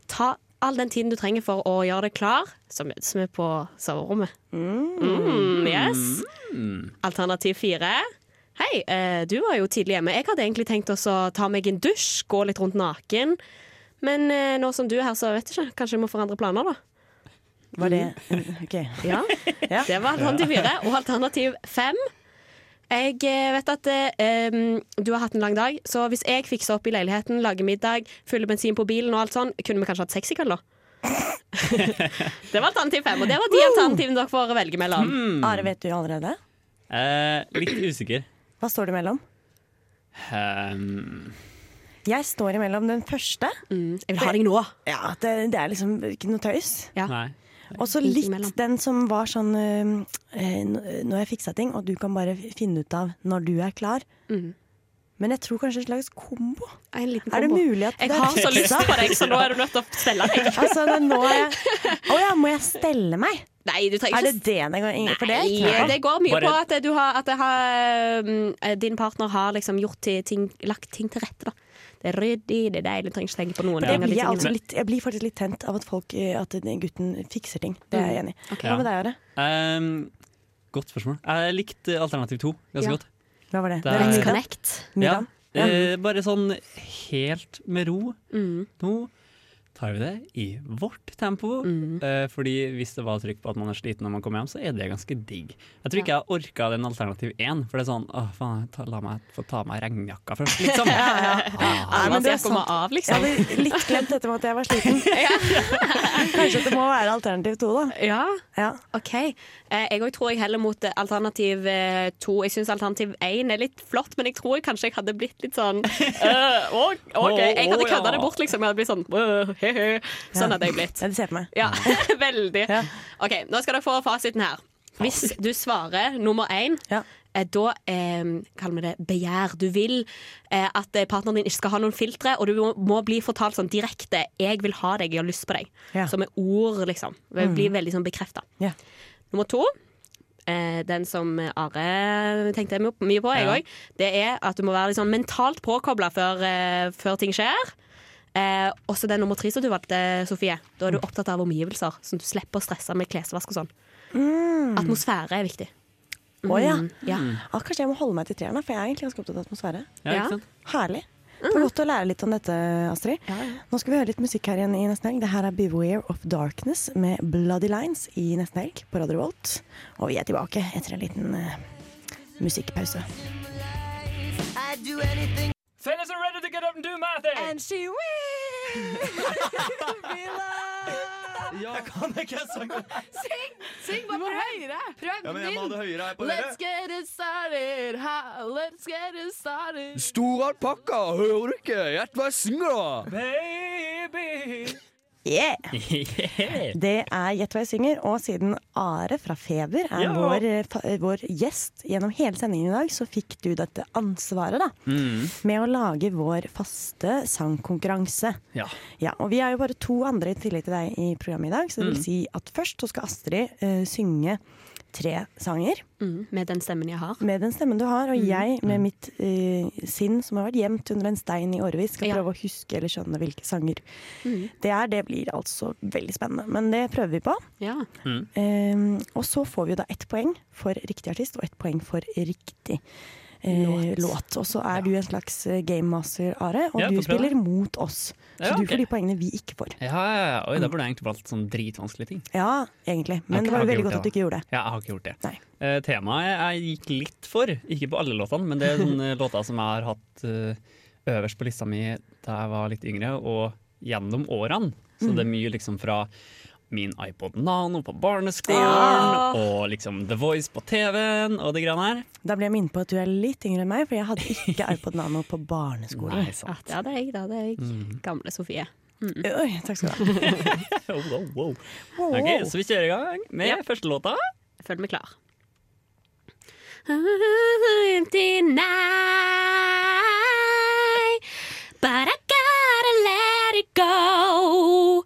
D: Ta all den tiden du trenger for å gjøre deg klar, så møtes vi på soverommet. Mm, yes. Alternativ fire. Hei, eh, du var jo tidlig hjemme. Jeg hadde egentlig tenkt å ta meg en dusj, gå litt rundt naken. Men eh, nå som du er her, så vet jeg ikke. Kanskje vi må forandre planer, da.
F: Var det OK.
D: Ja. Det var alternativ fire. Og alternativ fem. Jeg vet at eh, du har hatt en lang dag, så hvis jeg fikser opp i leiligheten, lager middag, fyller bensin på bilen og alt sånn, kunne vi kanskje hatt sex i kveld, da? det var alternativ fem, og det var de alternativene dere får velge mellom.
F: Mm. Are, vet du allerede?
B: Eh, litt usikker.
F: Hva står det mellom?
B: Um...
F: Jeg står imellom den første.
D: Mm. Jeg vil ha deg nå.
F: Ja, det, det er liksom ikke noe tøys.
D: Ja.
B: Nei.
F: Og så litt den som var sånn øh, Nå har jeg fiksa ting, og du kan bare finne ut av når du er klar. Mm. Men jeg tror kanskje en slags kombo.
D: En liten
F: er det
D: kombo.
F: mulig at
D: Jeg har så lyst på deg, så nå er du nødt til å stelle deg.
F: altså, nå er jeg... Å oh, ja, må jeg stelle meg?
D: Nei, du trenger
F: ikke Er det det det går
D: for det? Nei, det går mye på at, du har, at har, mm, eh, din partner har liksom gjort ting, lagt ting til rette, da. Det er ryddig, det er deilig, du trenger ikke tenke på noen
F: jeg, blir altså litt, jeg blir faktisk litt tent av at, folk, eh, at gutten fikser ting. Det
D: Mm.
F: er jeg enig i. Okay. Hva med deg, Are?
B: Um, godt spørsmål. Jeg likte alternativ to ganske ja. godt.
F: Hva var det?
D: det er, Connect.
B: Ja. ja. Uh, bare sånn helt med ro. Mm. Nå tar vi det i vårt tempo. Mm. Uh, fordi hvis det var trykk på at man er sliten når man kommer hjem, så er det ganske digg. Jeg tror ikke ja. jeg orka den alternativ én, for det er sånn åh, faen, ta, la meg få ta av meg regnjakka først, liksom.
D: ja, ja. Ah, ja, det er sant. Av, liksom.
F: Jeg hadde litt glemt dette med at jeg var sliten. Kanskje det må være alternativ to, da.
D: Ja, ja. OK. Uh, jeg òg tror jeg heller mot eh, alternativ uh, to. Jeg syns alternativ én er litt flott, men jeg tror kanskje jeg hadde blitt litt sånn OK. eh, Jeg hadde kødda det bort, liksom. Jeg hadde blitt sånn uh, Sånn hadde jeg blitt.
F: Ja, det ser på meg.
D: Ja, veldig. OK, nå skal dere få fasiten her. Hvis du svarer nummer én, ja. da eh, kaller vi det begjær. Du vil eh, at partneren din ikke skal ha noen filtre, og du må, må bli fortalt sånn direkte 'jeg vil ha deg, jeg har lyst på deg'. Ja. Som er ord, liksom. Det blir veldig sånn bekrefta.
F: Ja.
D: Nummer to. Eh, den som Are tenkte sånn mye på, jeg òg. Det er at du må være liksom, mentalt påkobla før, før eh, ting skjer. Eh, også den nummer tre som du valgte, Sofie. Da er du opptatt av omgivelser, sånn at du slipper å stresse med klesvask og sånn.
F: Mm.
D: Atmosfære er viktig.
F: Å ja.
D: Mm, ja.
F: Ah, kanskje jeg må holde meg til treeren, da, for jeg er egentlig ganske opptatt av atmosfære.
D: Ja, ikke sant?
F: Herlig.
D: Mm.
F: Det var godt å lære litt om dette, Astrid. Nå skal vi høre litt musikk her igjen i Nesten Helg. Det her er 'Beware of Darkness' med 'Bloody Lines' i Nesten Helg på Radio Revolt. Og vi er tilbake etter en liten eh, musikkpause.
N: Fellas are ready to get up and do my thing. And she will be loved.
U: Jeg kan ikke synge.
N: Syng! Syng, bare prøv. Høyere. Prøv
U: Ja, men jeg må ha det høyere her på dere.
N: Let's get it started. Ha, let's get it started.
U: Stor alpakka, hører du ikke? Gjett hva jeg synger, da!
N: Baby.
F: Yeah! Det er Gjett hva jeg synger, og siden Are fra Feber er
N: Ja.
F: vår, eh, fa- eh, vår gjest gjennom hele sendingen i dag, så fikk du dette ansvaret da, med å lage vår faste sangkonkurranse.
B: Ja.
F: Ja, og vi er jo bare to andre i tillegg til deg i programmet i dag, så det
D: Mm.
F: vil si at først så skal Astrid eh, synge tre sanger.
D: Mm, med den stemmen jeg har.
F: Med den stemmen du har, og
D: Mm.
F: jeg med mitt eh, sinn som har vært gjemt under en stein i årevis, skal prøve å huske eller skjønne hvilke sanger
B: Mm.
F: det er. Det blir altså veldig spennende, men det prøver vi på. Eh, og så får vi jo da ett poeng for riktig artist og ett poeng for riktig eh, låt. Og så er du en slags eh, game master, Are, og
B: Ja,
F: du
B: får prøve.
F: spiller mot oss. Så
B: Ja,
F: du
B: ok.
F: får de poengene vi ikke får.
B: Ja, ja, ja. Oi, da burde jeg egentlig valgt sånn dritvanskelige ting.
F: Ja, egentlig.
B: Jeg
F: Men det var
B: har
F: jo
B: ikke gjort
F: veldig godt at
B: da.
F: du ikke gjorde det.
B: Ja, jeg har ikke gjort det. Eh, temaet jeg gikk litt for, ikke på alle låtene, men det er sånne låter som jeg har hatt eh, øverst på lista mi da jeg var litt yngre, og gjennom årene. Så
V: Mm.
B: det er mye liksom fra min iPod Nano på barneskolen,
F: Ja.
B: og liksom The Voice på TV-en, og de greiene her.
F: Da ble jeg minnet på at du er litt yngre enn meg, for jeg hadde ikke iPod Nano på barneskolen.
B: Nei, sant.
D: Ja, det er jeg, da. Det er jeg. Gamle Sofie. Mm.
F: Oi, takk skal du ha.
B: wow, wow.
D: Wow,
B: Ok,
D: wow.
B: Så vi kjører i gang med første låta.
D: Jeg føler meg klar. Tonight, but I gotta let it go.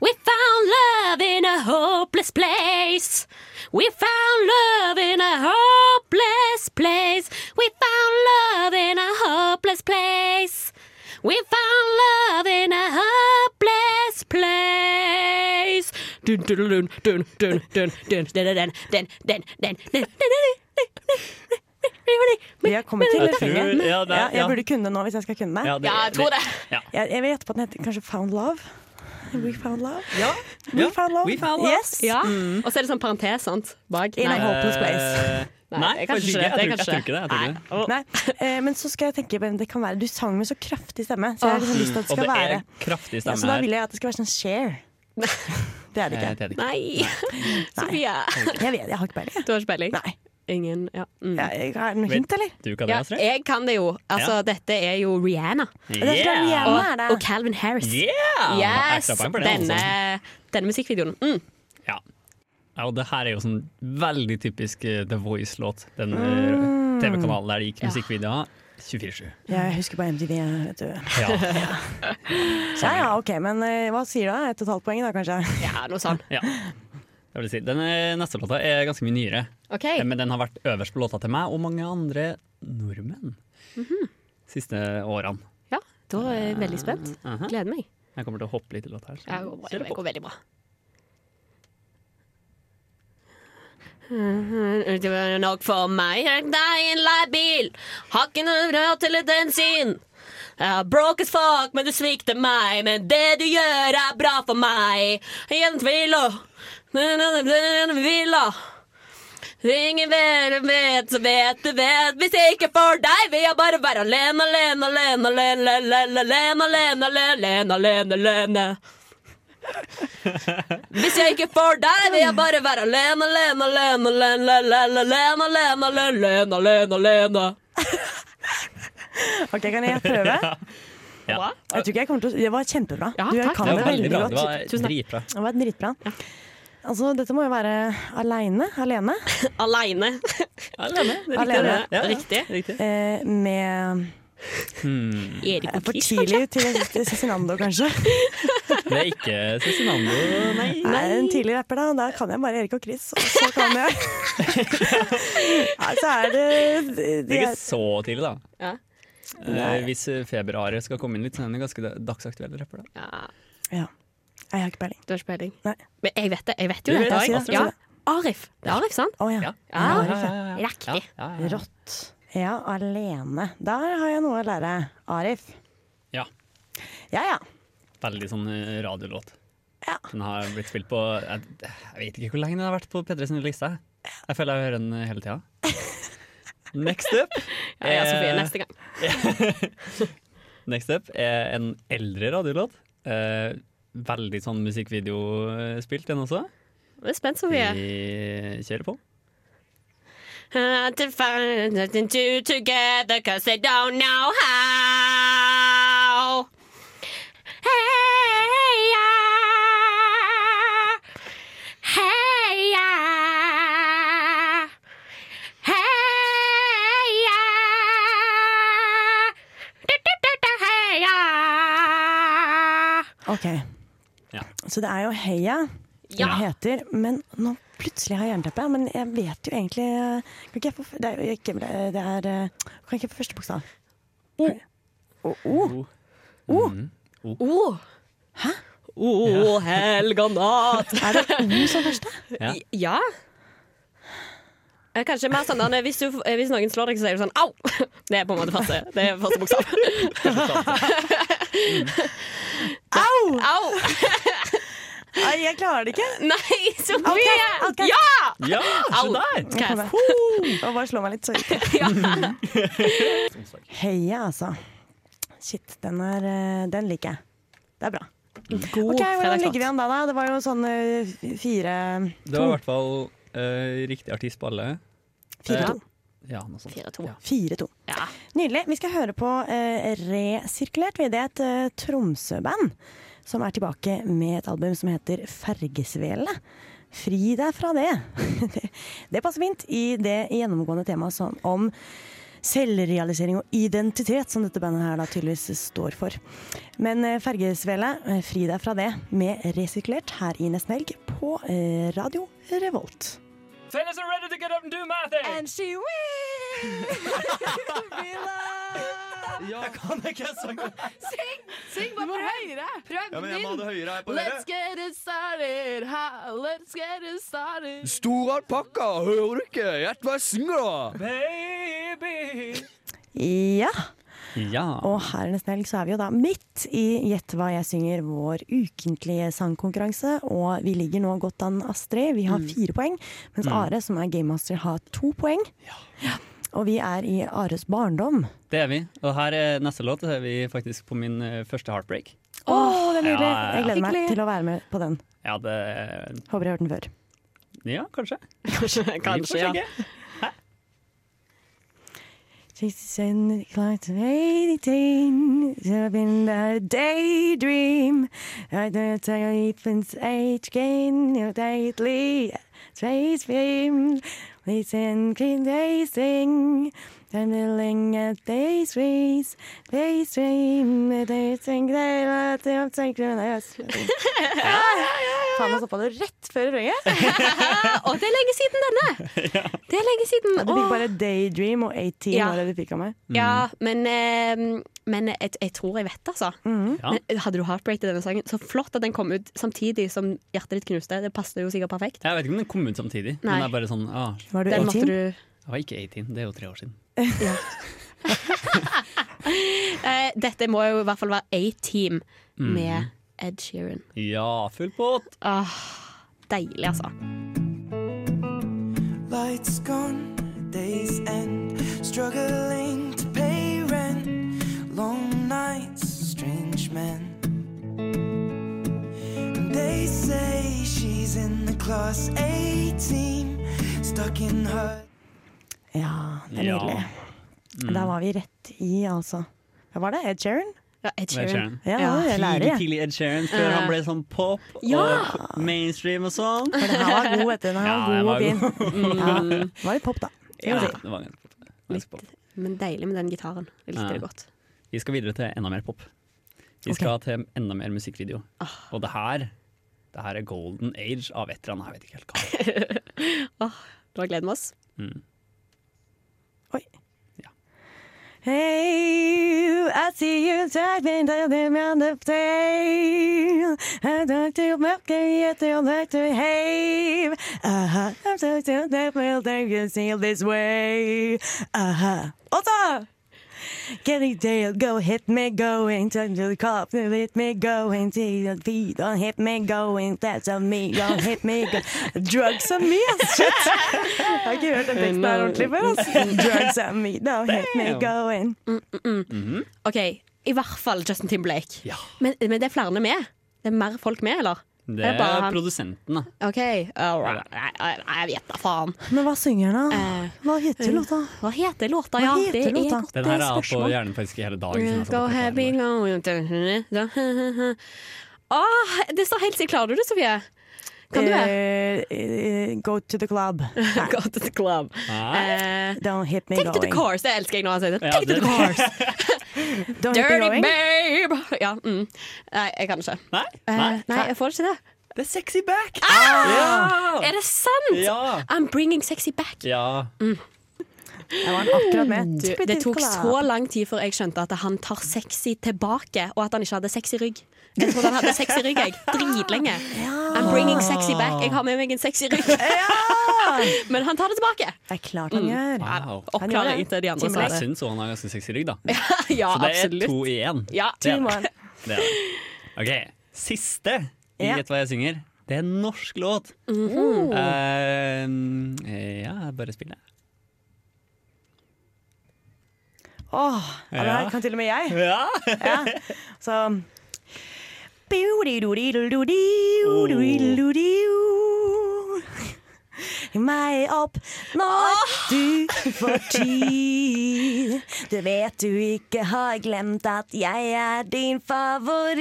D: We found love in a hopeless place. We found love in a hopeless place. We found love in a hopeless place. We found love in a hopeless place. Dun, dun, dun, dun, dun, dun, dun, dun, dun, dun, dun, dun, dun.
F: Vi har kommet til
B: Jeg
F: refrenget.
B: tror- ja, det er-
F: Ja, jeg
B: ja.
F: burde kunne det nå hvis jeg skal kunne det.
B: Ja, det- Ja, jeg tror det. Ja.
F: Jeg, jeg vil gjette på at den heter kanskje Found Love. We found love. We
B: Ja.
F: found love.
B: We found love.
F: Yes. Mm.
D: Ja. Og så er det sånn parentes, sant? Bak.
F: In a hopeless
B: Eh,
F: place.
B: Nei,
D: det
B: faktisk
D: er kanskje
B: ikke.
D: det,
B: Jeg
D: det
B: tror
D: er
B: jeg tror ikke det. Jeg tror ikke det.
F: Nei. Eh, Men så skal jeg tenke hvem det kan være. Du sang med så kraftig stemme, så jeg har liksom lyst til at
B: Ah.
F: det
B: og
F: skal
B: det
F: være
B: er kraftig
F: ja,
B: stemme
F: Så da
B: her.
F: vil jeg at det skal være sånn share. Det er det
B: Eh, det
F: ikke.
B: er det ikke.
D: Sofia.
F: Jeg vet, jeg har ikke peiling.
D: Du har ikke peiling? Nei. Ingen, ja. Mm.
F: er det noe hint, eller?
B: Du kan det,
D: ja,
B: Astrid.
D: jeg kan det jo. Altså,
B: Ja.
D: Dette er jo Rihanna.
B: Det er klart Rihanna
D: og,
B: er det.
D: og Calvin Harris.
B: Yeah!
D: Yes!
B: Ekstra poeng for det, altså.
D: Denne, denne musikkvideoen. Mm.
B: Ja. ja, og det her er jo sånn veldig typisk eh, The Voice-låt. Den eh,
F: Mm.
B: TV-kanalen der det gikk
F: Ja.
B: musikkvideoer 24-7.
F: Jeg husker på MTV, vet du.
B: Ja.
F: Ja, ja, ok, men eh, hva sier du da? Et og et halvt poeng da, kanskje?
D: Ja, noe sånt.
B: Ja. Jeg vil si, den eh, neste låta er ganske mye nyere,
D: Ok.
B: Eh, men den har vært øverst på låta til meg og mange andre nordmenn
D: Mhm.
B: siste årene.
D: Ja, da er jeg veldig spent.
B: aha.
D: Gleder meg.
B: Jeg kommer til å hoppe litt i låta her. så
D: Ja, Det går, bra.
B: kjør
D: det
B: på.
D: går veldig bra. Det var nok for meg. Jeg er i en leiebil. Har ikke noe råd til litt bensin. Jeg er broke as fuck, men du svikter meg. Men det du gjør, er bra for meg. Ingen tvil, og Ingen vil, og Ingen vet, vet, så vet du vet Hvis det ikke er for deg vil jeg bare være alene, alene, alene, alene, alene, alene, alene, alene, alene, alene. Hvis jeg ikke er for deg vil jeg bare være alene, alene, alene, alene, alene, alene, alene, alene, alene, alene.
F: Ok, kan jeg prøve?
B: Ja.
F: Jeg tror ikke jeg kommer til å Det var kjempebra. du
B: takk. Det
F: kan det,
B: var veldig
F: veldig
B: bra.
F: godt.
B: Det var
F: Tusen takk.
B: dritbra.
F: Det var dritbra. Altså, dette må jo være aleine. Alene.
D: Alene.
B: Alene.
D: det er riktig, det. Ja, ja. Riktig.
F: Eh, med
B: Hmm.
D: Erik
F: eh, For tidlig til Cezinando, kanskje.
B: Det er ikke Cezinando, nei.
F: Nei, en tidlig rapper, da. Da kan jeg bare Erik og Chris. Og så kan jeg Nei, så er det,
B: Det er ikke så tidlig, da. Eh, hvis feberaret skal komme inn litt, så er det en ganske dagsaktuell rapper. da.
F: Ja. Jeg har ikke peiling.
D: Du har ikke peiling?
F: Nei.
D: Men jeg vet det. Jeg vet jo
B: Du
D: det.
B: vet det,
D: Ja,
B: Astrid,
D: ja.
B: sier det.
D: Arif. Det er Arif, sant?
F: Å ja. Ah.
D: Ja.
F: Ja, ja, ja.
D: Riktig.
F: Rått. Ja, alene. Der har jeg noe å lære. Arif.
B: Ja.
F: Ja ja.
B: Veldig sånn eh, radiolåt. Den har blitt spilt på jeg, jeg vet ikke hvor lenge den har vært på P3 sin liste. Jeg føler jeg hører den hele tida. Next up
D: Ja, ja, Sofie,
B: er-
D: neste gang.
B: Next up er en eldre radiolåt. Eh, veldig sånn musikkvideospilt, den også.
D: Jeg er spent,
B: Vi
D: Sofie.
B: kjører på.
D: Uh, to find nothing to together cause they don't know how. Hey, yeah. Hey, yeah. Hey, yeah. Du, du, du, du, hey, yeah.
F: OK. Så det er jo Heia det
D: Ja.
F: heter, men nå plutselig har jeg jernteppe. Men jeg vet jo egentlig eh, Kan ikke jeg få Det er, jo ikke, det er eh, Kan ikke jeg få første bokstav? O. O. O. o.
D: O.
F: Hæ?
D: O, helga natt.
F: Er det O som første?
B: Ja.
D: Ja. Eh, Kanskje mer sånn Anne, hvis, du, eh, hvis noen slår deg, så sier du sånn au! Det er på en måte første, det er første bokstav.
F: Au!
D: Au!
F: Nei, jeg klarer det ikke.
D: Nei, Sofie!
F: Outcast, outcast.
D: Ja!
B: Ja,
D: Au.
B: se der!
F: Jeg kommer. Og bare slå meg litt, så gikk det. Heia, altså. Shit, den, er, eh, den liker jeg. Det er bra.
D: God
F: Ok, Hvordan
D: fredagslåt.
F: ligger vi an da, da? Det var jo sånn eh, fire
B: Det var i hvert fall eh, riktig artist på alle.
F: Fire, to.
B: Eh, ja, noe sånt. Ja.
F: 4-2. Nydelig. Vi skal høre på eh, Resirkulert. Vi- Det er et eh, Tromsø-band som er tilbake med et album som heter Fergesvele. Fri deg fra det. det. Det passer fint i det gjennomgående temaet som om selvrealisering og identitet, som dette bandet her da tydeligvis står for. Men eh, Fergesvele, eh, fri deg fra det med Resirkulert her i Nesten Helg på eh, Radio Revolt.
N: Fellas are ready to get up and do my thing. And she will be loved.
W: Jeg kan ikke sangen.
N: Syng!
W: Syng, bare prøv. Prøv
N: Ja, men jeg må ha det høyere her på
W: Let's
N: øret.
W: get it started. Ha, let's get it started.
A: Stor alpakka, hører du ikke? Gjett hva jeg synger, da!
W: Baby.
F: Ja.
B: Ja.
F: Og her i Nesten Helg så er vi jo da midt i Gjett hva jeg synger, vår ukentlige sangkonkurranse. Og vi ligger nå godt an, Astrid. Vi har fire poeng. Mens
B: Mm.
F: Are, som er gamemaster, har to poeng. Ja. Og vi er i Ares barndom.
B: Det er vi. Og her er neste låt. er vi faktisk på min eh, første heartbreak.
F: Å, det er
B: Ja,
F: nydelig!
B: ja, ja.
F: Jeg gleder meg
B: Hyggelig.
F: til å være med på den.
B: Ja, det
F: Håper jeg har hørt den før.
B: Ja, kanskje.
D: Kanskje,
B: Kanskje,
D: ja.
B: ikke.
F: Six and clock to eighteen. There have been a daydream. I don't tell you since age gain your daily trace beam. Listen, clean they sing. I'm willing at they race. They stream. They think they let them think they let Faen, jeg stoppa det rett før refrenget.
D: Eh, Og det er lenge siden denne! Det er lenge siden.
F: Du fikk
D: Åh.
F: bare daydream og 18
D: Ja.
F: var det du fikk av meg.
D: Ja, men, eh, men jeg, jeg tror jeg vet det, altså.
B: Ja.
D: Men hadde du heartbreak til denne sangen? Så flott at den kom ut samtidig som hjertet ditt knuste. Det passet jo sikkert perfekt.
B: Jeg vet ikke om den kom ut samtidig.
D: Nei.
B: Men det er bare sånn ah.
D: Var du Den 18? måtte du-
B: Jeg var ikke 18, det er jo tre år siden.
D: Eh, dette må jo i hvert fall være A-Team
B: Mhm.
D: med Ed Sheeran.
B: Ja, full pott!
D: Ah, deilig, altså.
N: Lights gone, days end, struggling to pay rent, long nights, strange men. And they say she's in the class 18, stuck in her.
F: Ja, det er
N: Ja.
F: nydelig.
N: Mm.
F: Der var vi rett i, altså. Hva var det? Ed Sheeran?
D: Ja, Ed
F: Ja, jeg lærer,
B: Tidlig,
F: jeg.
B: tidlig Ed Sheeran, før
F: Ja.
B: han ble sånn pop
F: Ja.
B: og mainstream og sånn.
F: For den her var god, vet du. Den her
B: Ja, den var
F: var god og fin.
B: god.
F: Ja, den var litt pop, da. Det må
B: Ja,
F: jeg si.
B: det var ganske pop. Ganske pop.
D: Men deilig med den gitaren. Jeg likte
B: Ja.
D: det godt.
B: Vi skal videre til enda mer pop. Vi skal til enda mer musikkvideo.
D: Ah.
B: Og det her Det her er golden age av et eller annet. Jeg vet ikke helt hva.
D: Åh, nå gleder vi oss.
B: Mm.
F: Hey, I see you typing down them on the plane. I talk to milk and yet they like to have. Uh-huh. I'm so so that will they can see this way. Uh-huh. Åtta! Getting there, go hit me going, turn to the cop, hit me going, take your feet, don't hit me going, that's on me, don't hit me go. Drugs on me, ass! Shit! Jeg har ikke hørt den teksten her ordentlig før, ass. Drugs on me, don't hit me going.
D: Mm, mm, mm. OK, i hvert fall Justin Timberlake.
B: Ja.
D: Men, men det er flere med? Det er mer folk med, eller?
B: Det
D: Eller bare
B: er
D: han?
B: produsenten, da.
D: OK. all right. Nei, nei, nei, jeg vet da faen.
F: Men hva synger han da?
D: Eh,
F: Hva heter låta?
D: Hva heter låta, ja?
F: Hva heter
D: det er
F: låta?
D: godt
B: Den her har jeg hatt på
D: spørsmål.
B: hjernen faktisk i hele dag. siden jeg satt
D: Go
B: opp her.
D: happy going to- Åh, Ah, det står helt sikkert. Klarer du det, Sofie? Kan du det?
F: Eh, eh, Go to the club. Nei,
D: Go to the club. Eh,
F: Don't hit me
D: Take to the
F: going.
D: cars, det elsker jeg når han sier det.
F: Ja,
D: Take to
F: det-
D: the cars!
F: Don't hit me
D: Dirty
F: going.
D: babe! Ja, mm. Nei, jeg kan ikke.
B: Nei?
D: Eh,
B: Nei?
D: nei, jeg får ikke det.
B: Det er sexy back!
D: Ah!
B: Ja!
D: Er det sant?
B: Ja.
D: I'm bringing sexy back.
B: Ja.
D: Mm.
F: Jeg var akkurat med.
D: Du, det tok så lang tid før jeg skjønte at han tar sexy tilbake, og at han ikke hadde sexy rygg. Jeg trodde han hadde sexy rygg, jeg. Dritlenge. I'm bringing sexy back. Jeg har med meg en sexy rygg. Men han tar det tilbake.
F: Det er klart
D: Mm.
F: han gjør.
B: Wow.
D: Oppklarer inntil de andre sa
B: Jeg
D: det.
B: syns også han har ganske sexy rygg, da.
D: Ja,
B: Så det er to
D: absolutt.
B: i én.
D: Ja.
B: Det er
F: Team
B: det.
F: one.
B: Det er det. OK. Siste i
F: Ja. Mhm.
B: Gjett hva jeg synger. Det er en norsk låt. Eh, ja, bare spill det.
F: Åh, ja, det her
B: Ja.
F: kan til og med jeg.
B: Ja.
F: Ja.
D: Oh.
F: Så Biu-di-du-di-du-di-du-di-du-di-du.
B: Oh.
F: Meg opp når du får tid. Du vet du ikke har glemt at jeg er din favoritt.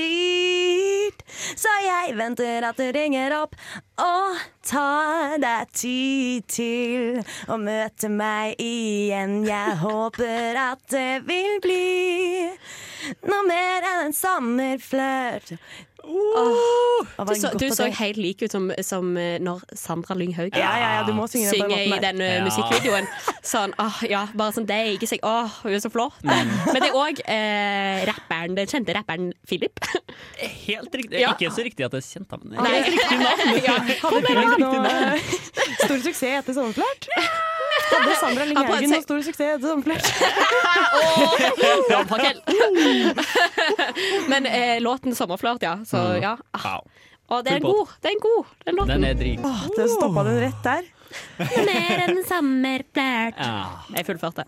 F: Så jeg venter at du ringer opp og tar deg tid til å møte meg igjen. Jeg håper at det vil bli noe mer enn en sommerflørt. Åh,
D: Du
F: var
D: så,
F: godt
D: du
F: på
D: så
F: det.
D: helt lik ut som, som eh, når Sandra Lynghaug
F: Ja, ja, ja, du må synge den på den
D: synger i
F: måten her.
D: den eh,
F: Ja.
D: musikkvideoen. Sånn, åh, ja, bare sånn deiger seg. Åh, hun er så flott.
B: Mm.
D: Men det er òg eh, rapperen, den kjente rapperen Philip.
B: Helt riktig.
D: Ja.
B: Ikke så riktig at jeg kjente ham.
F: Ah,
D: Nei.
B: Helt riktig navn.
D: Ja.
F: Hadde
D: Kom igjen,
F: Philip
D: da.
F: noe stor suksess etter sommerflørt? Hadde Sandra
D: Han prøvde
F: Lynghaugen
D: seg-
F: noe stor suksess etter sommerflørt?
D: Bra pakkel. Men eh, låten 'Sommerflørt', ja. Så
B: Mm.
D: ja. Ah.
B: Wow.
D: Og det er en
B: Full pott.
D: god. Det er en god, den låten.
B: Den er drit.
F: Åh, det stoppa den rett der.
D: Mer enn en sommerflørt.
B: Ja.
F: Ah.
D: Jeg fullførte.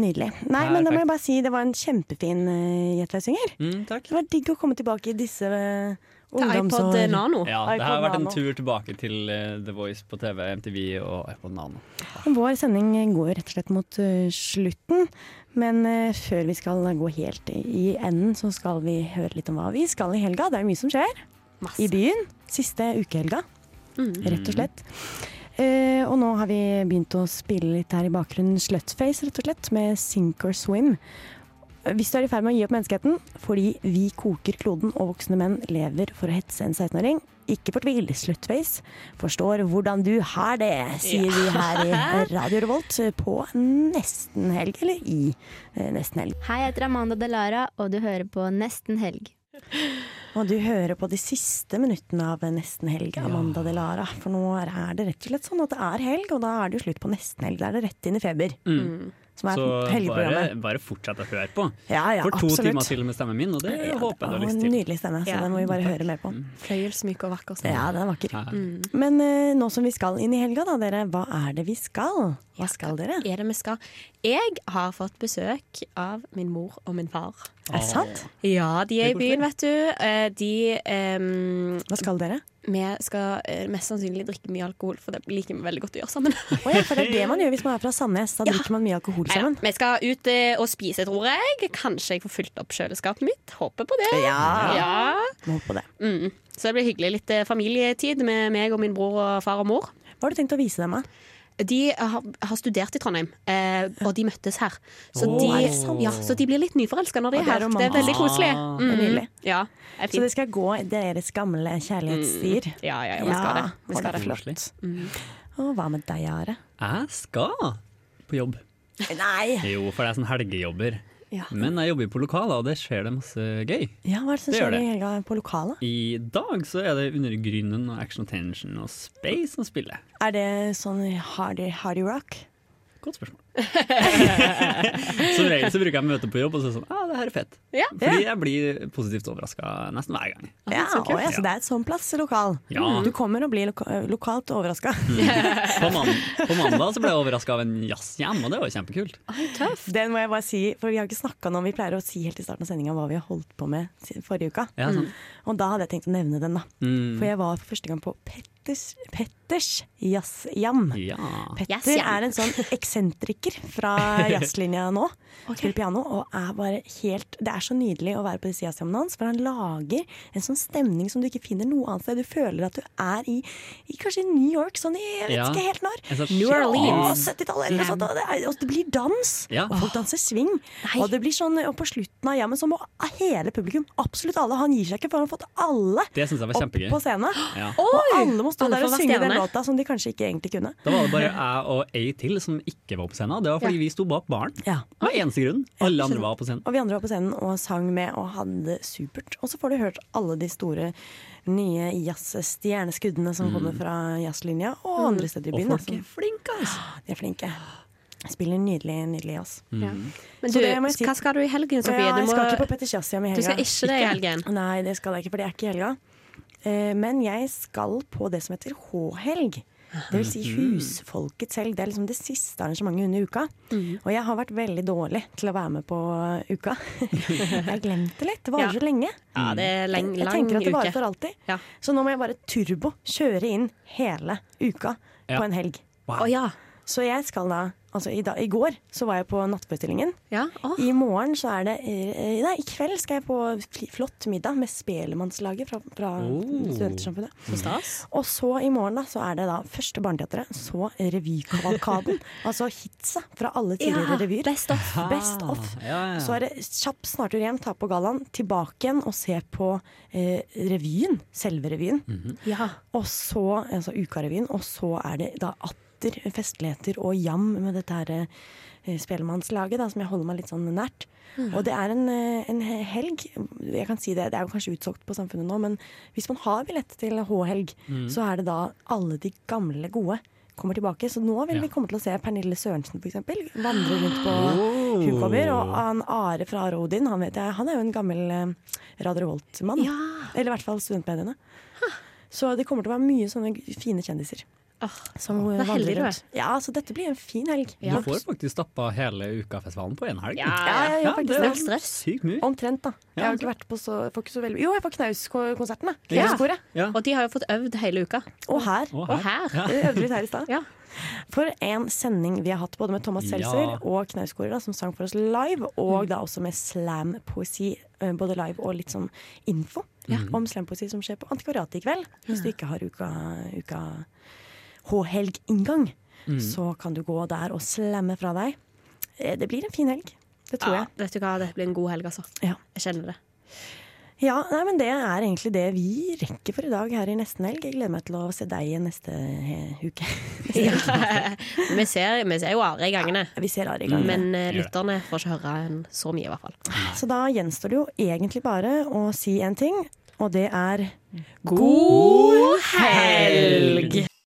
F: Nydelig. Nei, men da må jeg bare si det var en kjempefin eh, Gjett hva jeg synger.
B: Mm, takk.
F: Det var digg å komme tilbake i disse eh,
D: Til iPod eh,
F: ungdomsår.
D: Nano.
B: Ja, det har vært en
F: Nano.
B: tur tilbake til eh, The Voice på TV, MTV og iPod Nano.
F: Vår sending går rett og slett mot eh, slutten, men eh, før vi skal gå helt i enden, så skal vi høre litt om hva vi skal i helga. Det er mye som skjer
D: Masse.
F: i byen. Siste ukehelga, rett og slett. Eh, og nå har vi begynt å spille litt her i bakgrunnen Slutface, rett og slett, med Sink or Swim. Hvis du er i ferd med å gi opp menneskeheten fordi vi koker kloden og voksne menn lever for å hetse en 16-åring, ikke fortvil. Slutface forstår hvordan du har det, sier vi her i Radio Revolt på nesten helg, eller i eh, nesten helg.
C: Hei, jeg heter Amanda Delara, og du hører på Nesten helg.
F: Og du hører på de siste minuttene av Nesten helg, Amanda De Lara. For nå er det rett og slett sånn at det er helg, og da er det jo slutt på Nesten helg. Da er det rett inn i feber.
B: Mm.
F: Som er
B: Så bare,
F: helgeprogrammet.
B: bare fortsett å høre på.
F: Ja, ja,
B: For to
F: absolutt.
B: timer til med stemmen min, og det håper jeg du har
F: Og
B: lyst
F: en
B: til.
F: nydelig stemme, så
D: Ja.
F: den må vi bare høre mer på.
D: Fløyelsmyk og vakker stemme.
F: Ja, den er vakker.
B: Ja.
D: Mm.
F: Men eh, nå som vi skal inn i helga, da, dere, hva er det vi skal? Hva skal dere?
D: er det vi skal? Jeg har fått besøk av min mor og min far.
F: Er det sant?
D: Ja, de er i
F: Det er
D: byen,
F: koselig.
D: vet du. Eh, De ehm,
F: Hva skal dere?
D: Vi skal eh, mest sannsynlig drikke mye alkohol, for det liker vi veldig godt å gjøre sammen.
F: Å ja, for det er det man gjør hvis man er fra Sandnes. Da drikker man mye alkohol
D: Neida,
F: sammen.
D: Vi skal ut eh, og spise, tror jeg. Kanskje jeg får fylt opp kjøleskapet mitt. Håper på det.
F: Ja.
D: Ja.
F: Må på det.
D: Mm. Så det blir hyggelig. Litt eh, familietid med meg og min bror og far og mor.
F: Hva har du tenkt å vise dem? da?
D: De har, har studert i Trondheim, eh, og de møttes her. Så,
F: Åh, er
D: de,
F: det sant?
D: ja, så de blir litt nyforelska når de
F: Å,
D: er
F: det er
D: her. Det er veldig
F: romantisk.
D: koselig.
F: Ah, det er nydelig.
D: Ja, det er
F: Så
D: Mm.
F: det
D: fint.
F: skal gå deres gamle kjærlighetsstier?
D: Mm. Ja, ja, ja, vi skal det. Vi
F: å,
D: skal det.
F: Mm. er flott. Og hva med deg, Are?
B: Jeg skal på jobb.
F: Nei!
B: Jo, for det er sånn helgejobber. Ja. Men jeg jobber på lokalet, og det skjer det masse gøy.
F: Ja, Hva er det som
B: Det gjør
F: skjer i
B: det.
F: helga på lokalet?
B: I dag så er det Under Grynen og Action Attention og Space som spiller.
F: Er det sånn hardy, hardy rock?
B: Godt spørsmål. Som regel så bruker jeg møte på jobb og så er det sånn ah, det her er fett.
F: Ja.
B: Fordi jeg blir positivt overraska nesten hver gang.
F: Ja, så, ja, så det er et sånn plass lokal.
B: Ja. Mm.
F: Du kommer og blir loka lokalt overraska.
B: På, man på mandag så ble jeg overraska av en jazzjam, og det var jo kjempekult.
F: Den må jeg bare si, for vi har ikke snakka nå. Vi pleier å si helt i starten av sendinga hva vi har holdt på med siden forrige uke.
B: Ja, sant.
F: Og da hadde jeg tenkt å nevne den, da.
B: Mm.
F: For jeg var for første gang på Petters, Petters jazzjam. Petter
D: Jazzjam.
F: er en sånn eksentriker fra jazzlinja nå. Spiller piano og er bare helt Det er så nydelig å være på disse jazzjammene hans, for han lager en sånn stemning som du ikke finner noe annet sted. Du føler at du er i, i kanskje i New York, sånn i jeg vet
B: Ja.
F: ikke helt når.
B: En sånn New Orleans.
F: Ja, 70-tallet eller noe sånt. Og det, er, og det blir dans,
B: Ja.
F: og folk danser swing. Og det blir sånn, og på slutten av jammen så må hele publikum, absolutt alle, han gir seg ikke, for han har fått alle
B: Det synes jeg var
F: opp
B: kjempegøy.
F: på scenen.
B: Ja.
F: Og alle må stå
D: Alle
F: der
D: får
F: og
D: være
F: synge den
D: stjerne.
F: låta som de kanskje ikke egentlig kunne.
B: Da var det bare jeg og ei til som ikke var på scenen. Det var fordi
F: Ja.
B: vi sto bak baren.
F: Ja.
B: Det var eneste grunnen. Alle andre var på scenen.
F: Og vi andre var på scenen og sang med og hadde det supert. Og så får du hørt alle de store nye jazzstjerneskuddene som kommer fra jazzlinja og
D: Mm.
F: andre steder i
B: Mm. Og
F: byen.
B: folk er
F: flinke, De er flinke. Spiller nydelig, nydelig jazz.
B: Mm.
D: Ja. Men
F: Så
D: du,
F: det må jeg si.
D: hva skal du i helgen, Sofie?
F: Ja,
D: Du
F: jeg
D: må-
F: skal ikke på Petters jazzhjem i helga.
D: Du skal ikke det i helgen?
F: Nei, det skal jeg ikke, for det er ikke i helga. Eh, Men jeg skal på det som heter H-helg. Det vil si Husfolkets helg. Det er liksom det siste arrangementet under uka.
D: Mhm.
F: Og jeg har vært veldig dårlig til å være med på eh, uka. Jeg har glemt det litt. Det
D: Ja.
F: varer så lenge.
D: Ja, det er leng-
F: Jeg- Jeg
D: lang
F: tenker at det varer
D: uke.
F: for alltid. Så nå må jeg bare turbo kjøre inn hele uka
D: Ja.
F: på en helg.
D: Wow. Å, ja.
F: Så jeg skal da Altså, i, dag, I går så var jeg på Nattforestillingen. I morgen så er det eh, Nei, i kveld skal jeg på fl- flott middag med Spelemannslaget fra, fra
D: Oh.
F: Studentersamfunnet.
D: Så stas.
F: Og så i morgen da, så er det da første Barneteatret, så revykavalkaden. altså hitsa fra alle tidligere
D: Ja,
F: revyer. Best
D: of.
F: Best of.
D: Ja, ja.
F: Så er det kjapp snartur hjem, ta på gallaen, tilbake igjen og se på eh, revyen. Selve revyen.
D: Mm.
F: Og så, altså Ukarevyen, og så er det da atter festligheter og jam med dette her eh, Spellemannslaget, da, som jeg holder meg litt sånn nært.
D: Mhm.
F: Og det er en, eh, en helg, jeg kan si det, det er jo kanskje utsolgt på samfunnet nå, men hvis man har billett til H-helg,
D: Mhm.
F: så er det da alle de gamle gode kommer tilbake. Så nå vil
D: Ja.
F: vi komme til å se Pernille Sørensen f.eks. vandre rundt på hukover. Og han Are fra Rodin, han vet jeg, han er jo en gammel eh, Radio Revolt-mann. Eller i hvert fall studentmediene. Så det kommer til å være mye sånne fine kjendiser. som
B: Ah, det er
F: vandrer
B: heldig du er.
F: rundt. Ja, så dette blir en fin helg.
B: Du får faktisk stappa hele ukafestivalen på én helg.
F: Ja, jeg gjør faktisk
B: det
F: det.
B: er sykt mye.
F: Omtrent, da. Jeg
B: Ja.
F: har ikke vært på så, får ikke så veldig Jo, jeg er på Knauskonserten, da.
D: Ja.
F: Knauskoret.
D: Og de har jo fått øvd hele uka.
F: Og her.
D: Og her.
F: Vi øvde litt her i stad. For en sending vi har hatt både med Thomas
D: Ja.
F: Seltzer og Knauskoret, da, som sang for oss live, og da også med slampoesi, eh, både live og litt sånn info
D: Mm.
F: om slampoesi som skjer på Antikvariatet i kveld. Hvis du ikke har uka, uka H-helg-inngang,
D: Mm.
F: så kan du gå der og slamme fra deg. Eh, Det blir en fin helg. Det tror
D: Ja,
F: jeg.
D: vet du hva, det blir en god helg, altså. Jeg kjenner det.
F: Ja, nei, men Det er egentlig det vi rekker for i dag her i Nesten helg. Jeg gleder meg til å se deg igjen neste he- uke.
D: vi, ser, vi ser jo Are i gangene.
F: vi ser Are i gangene.
D: Men eh,
F: Gjør det.
D: lytterne får ikke høre en så mye, i hvert fall.
F: Så da gjenstår det jo egentlig bare å si en ting, og det er
D: God helg!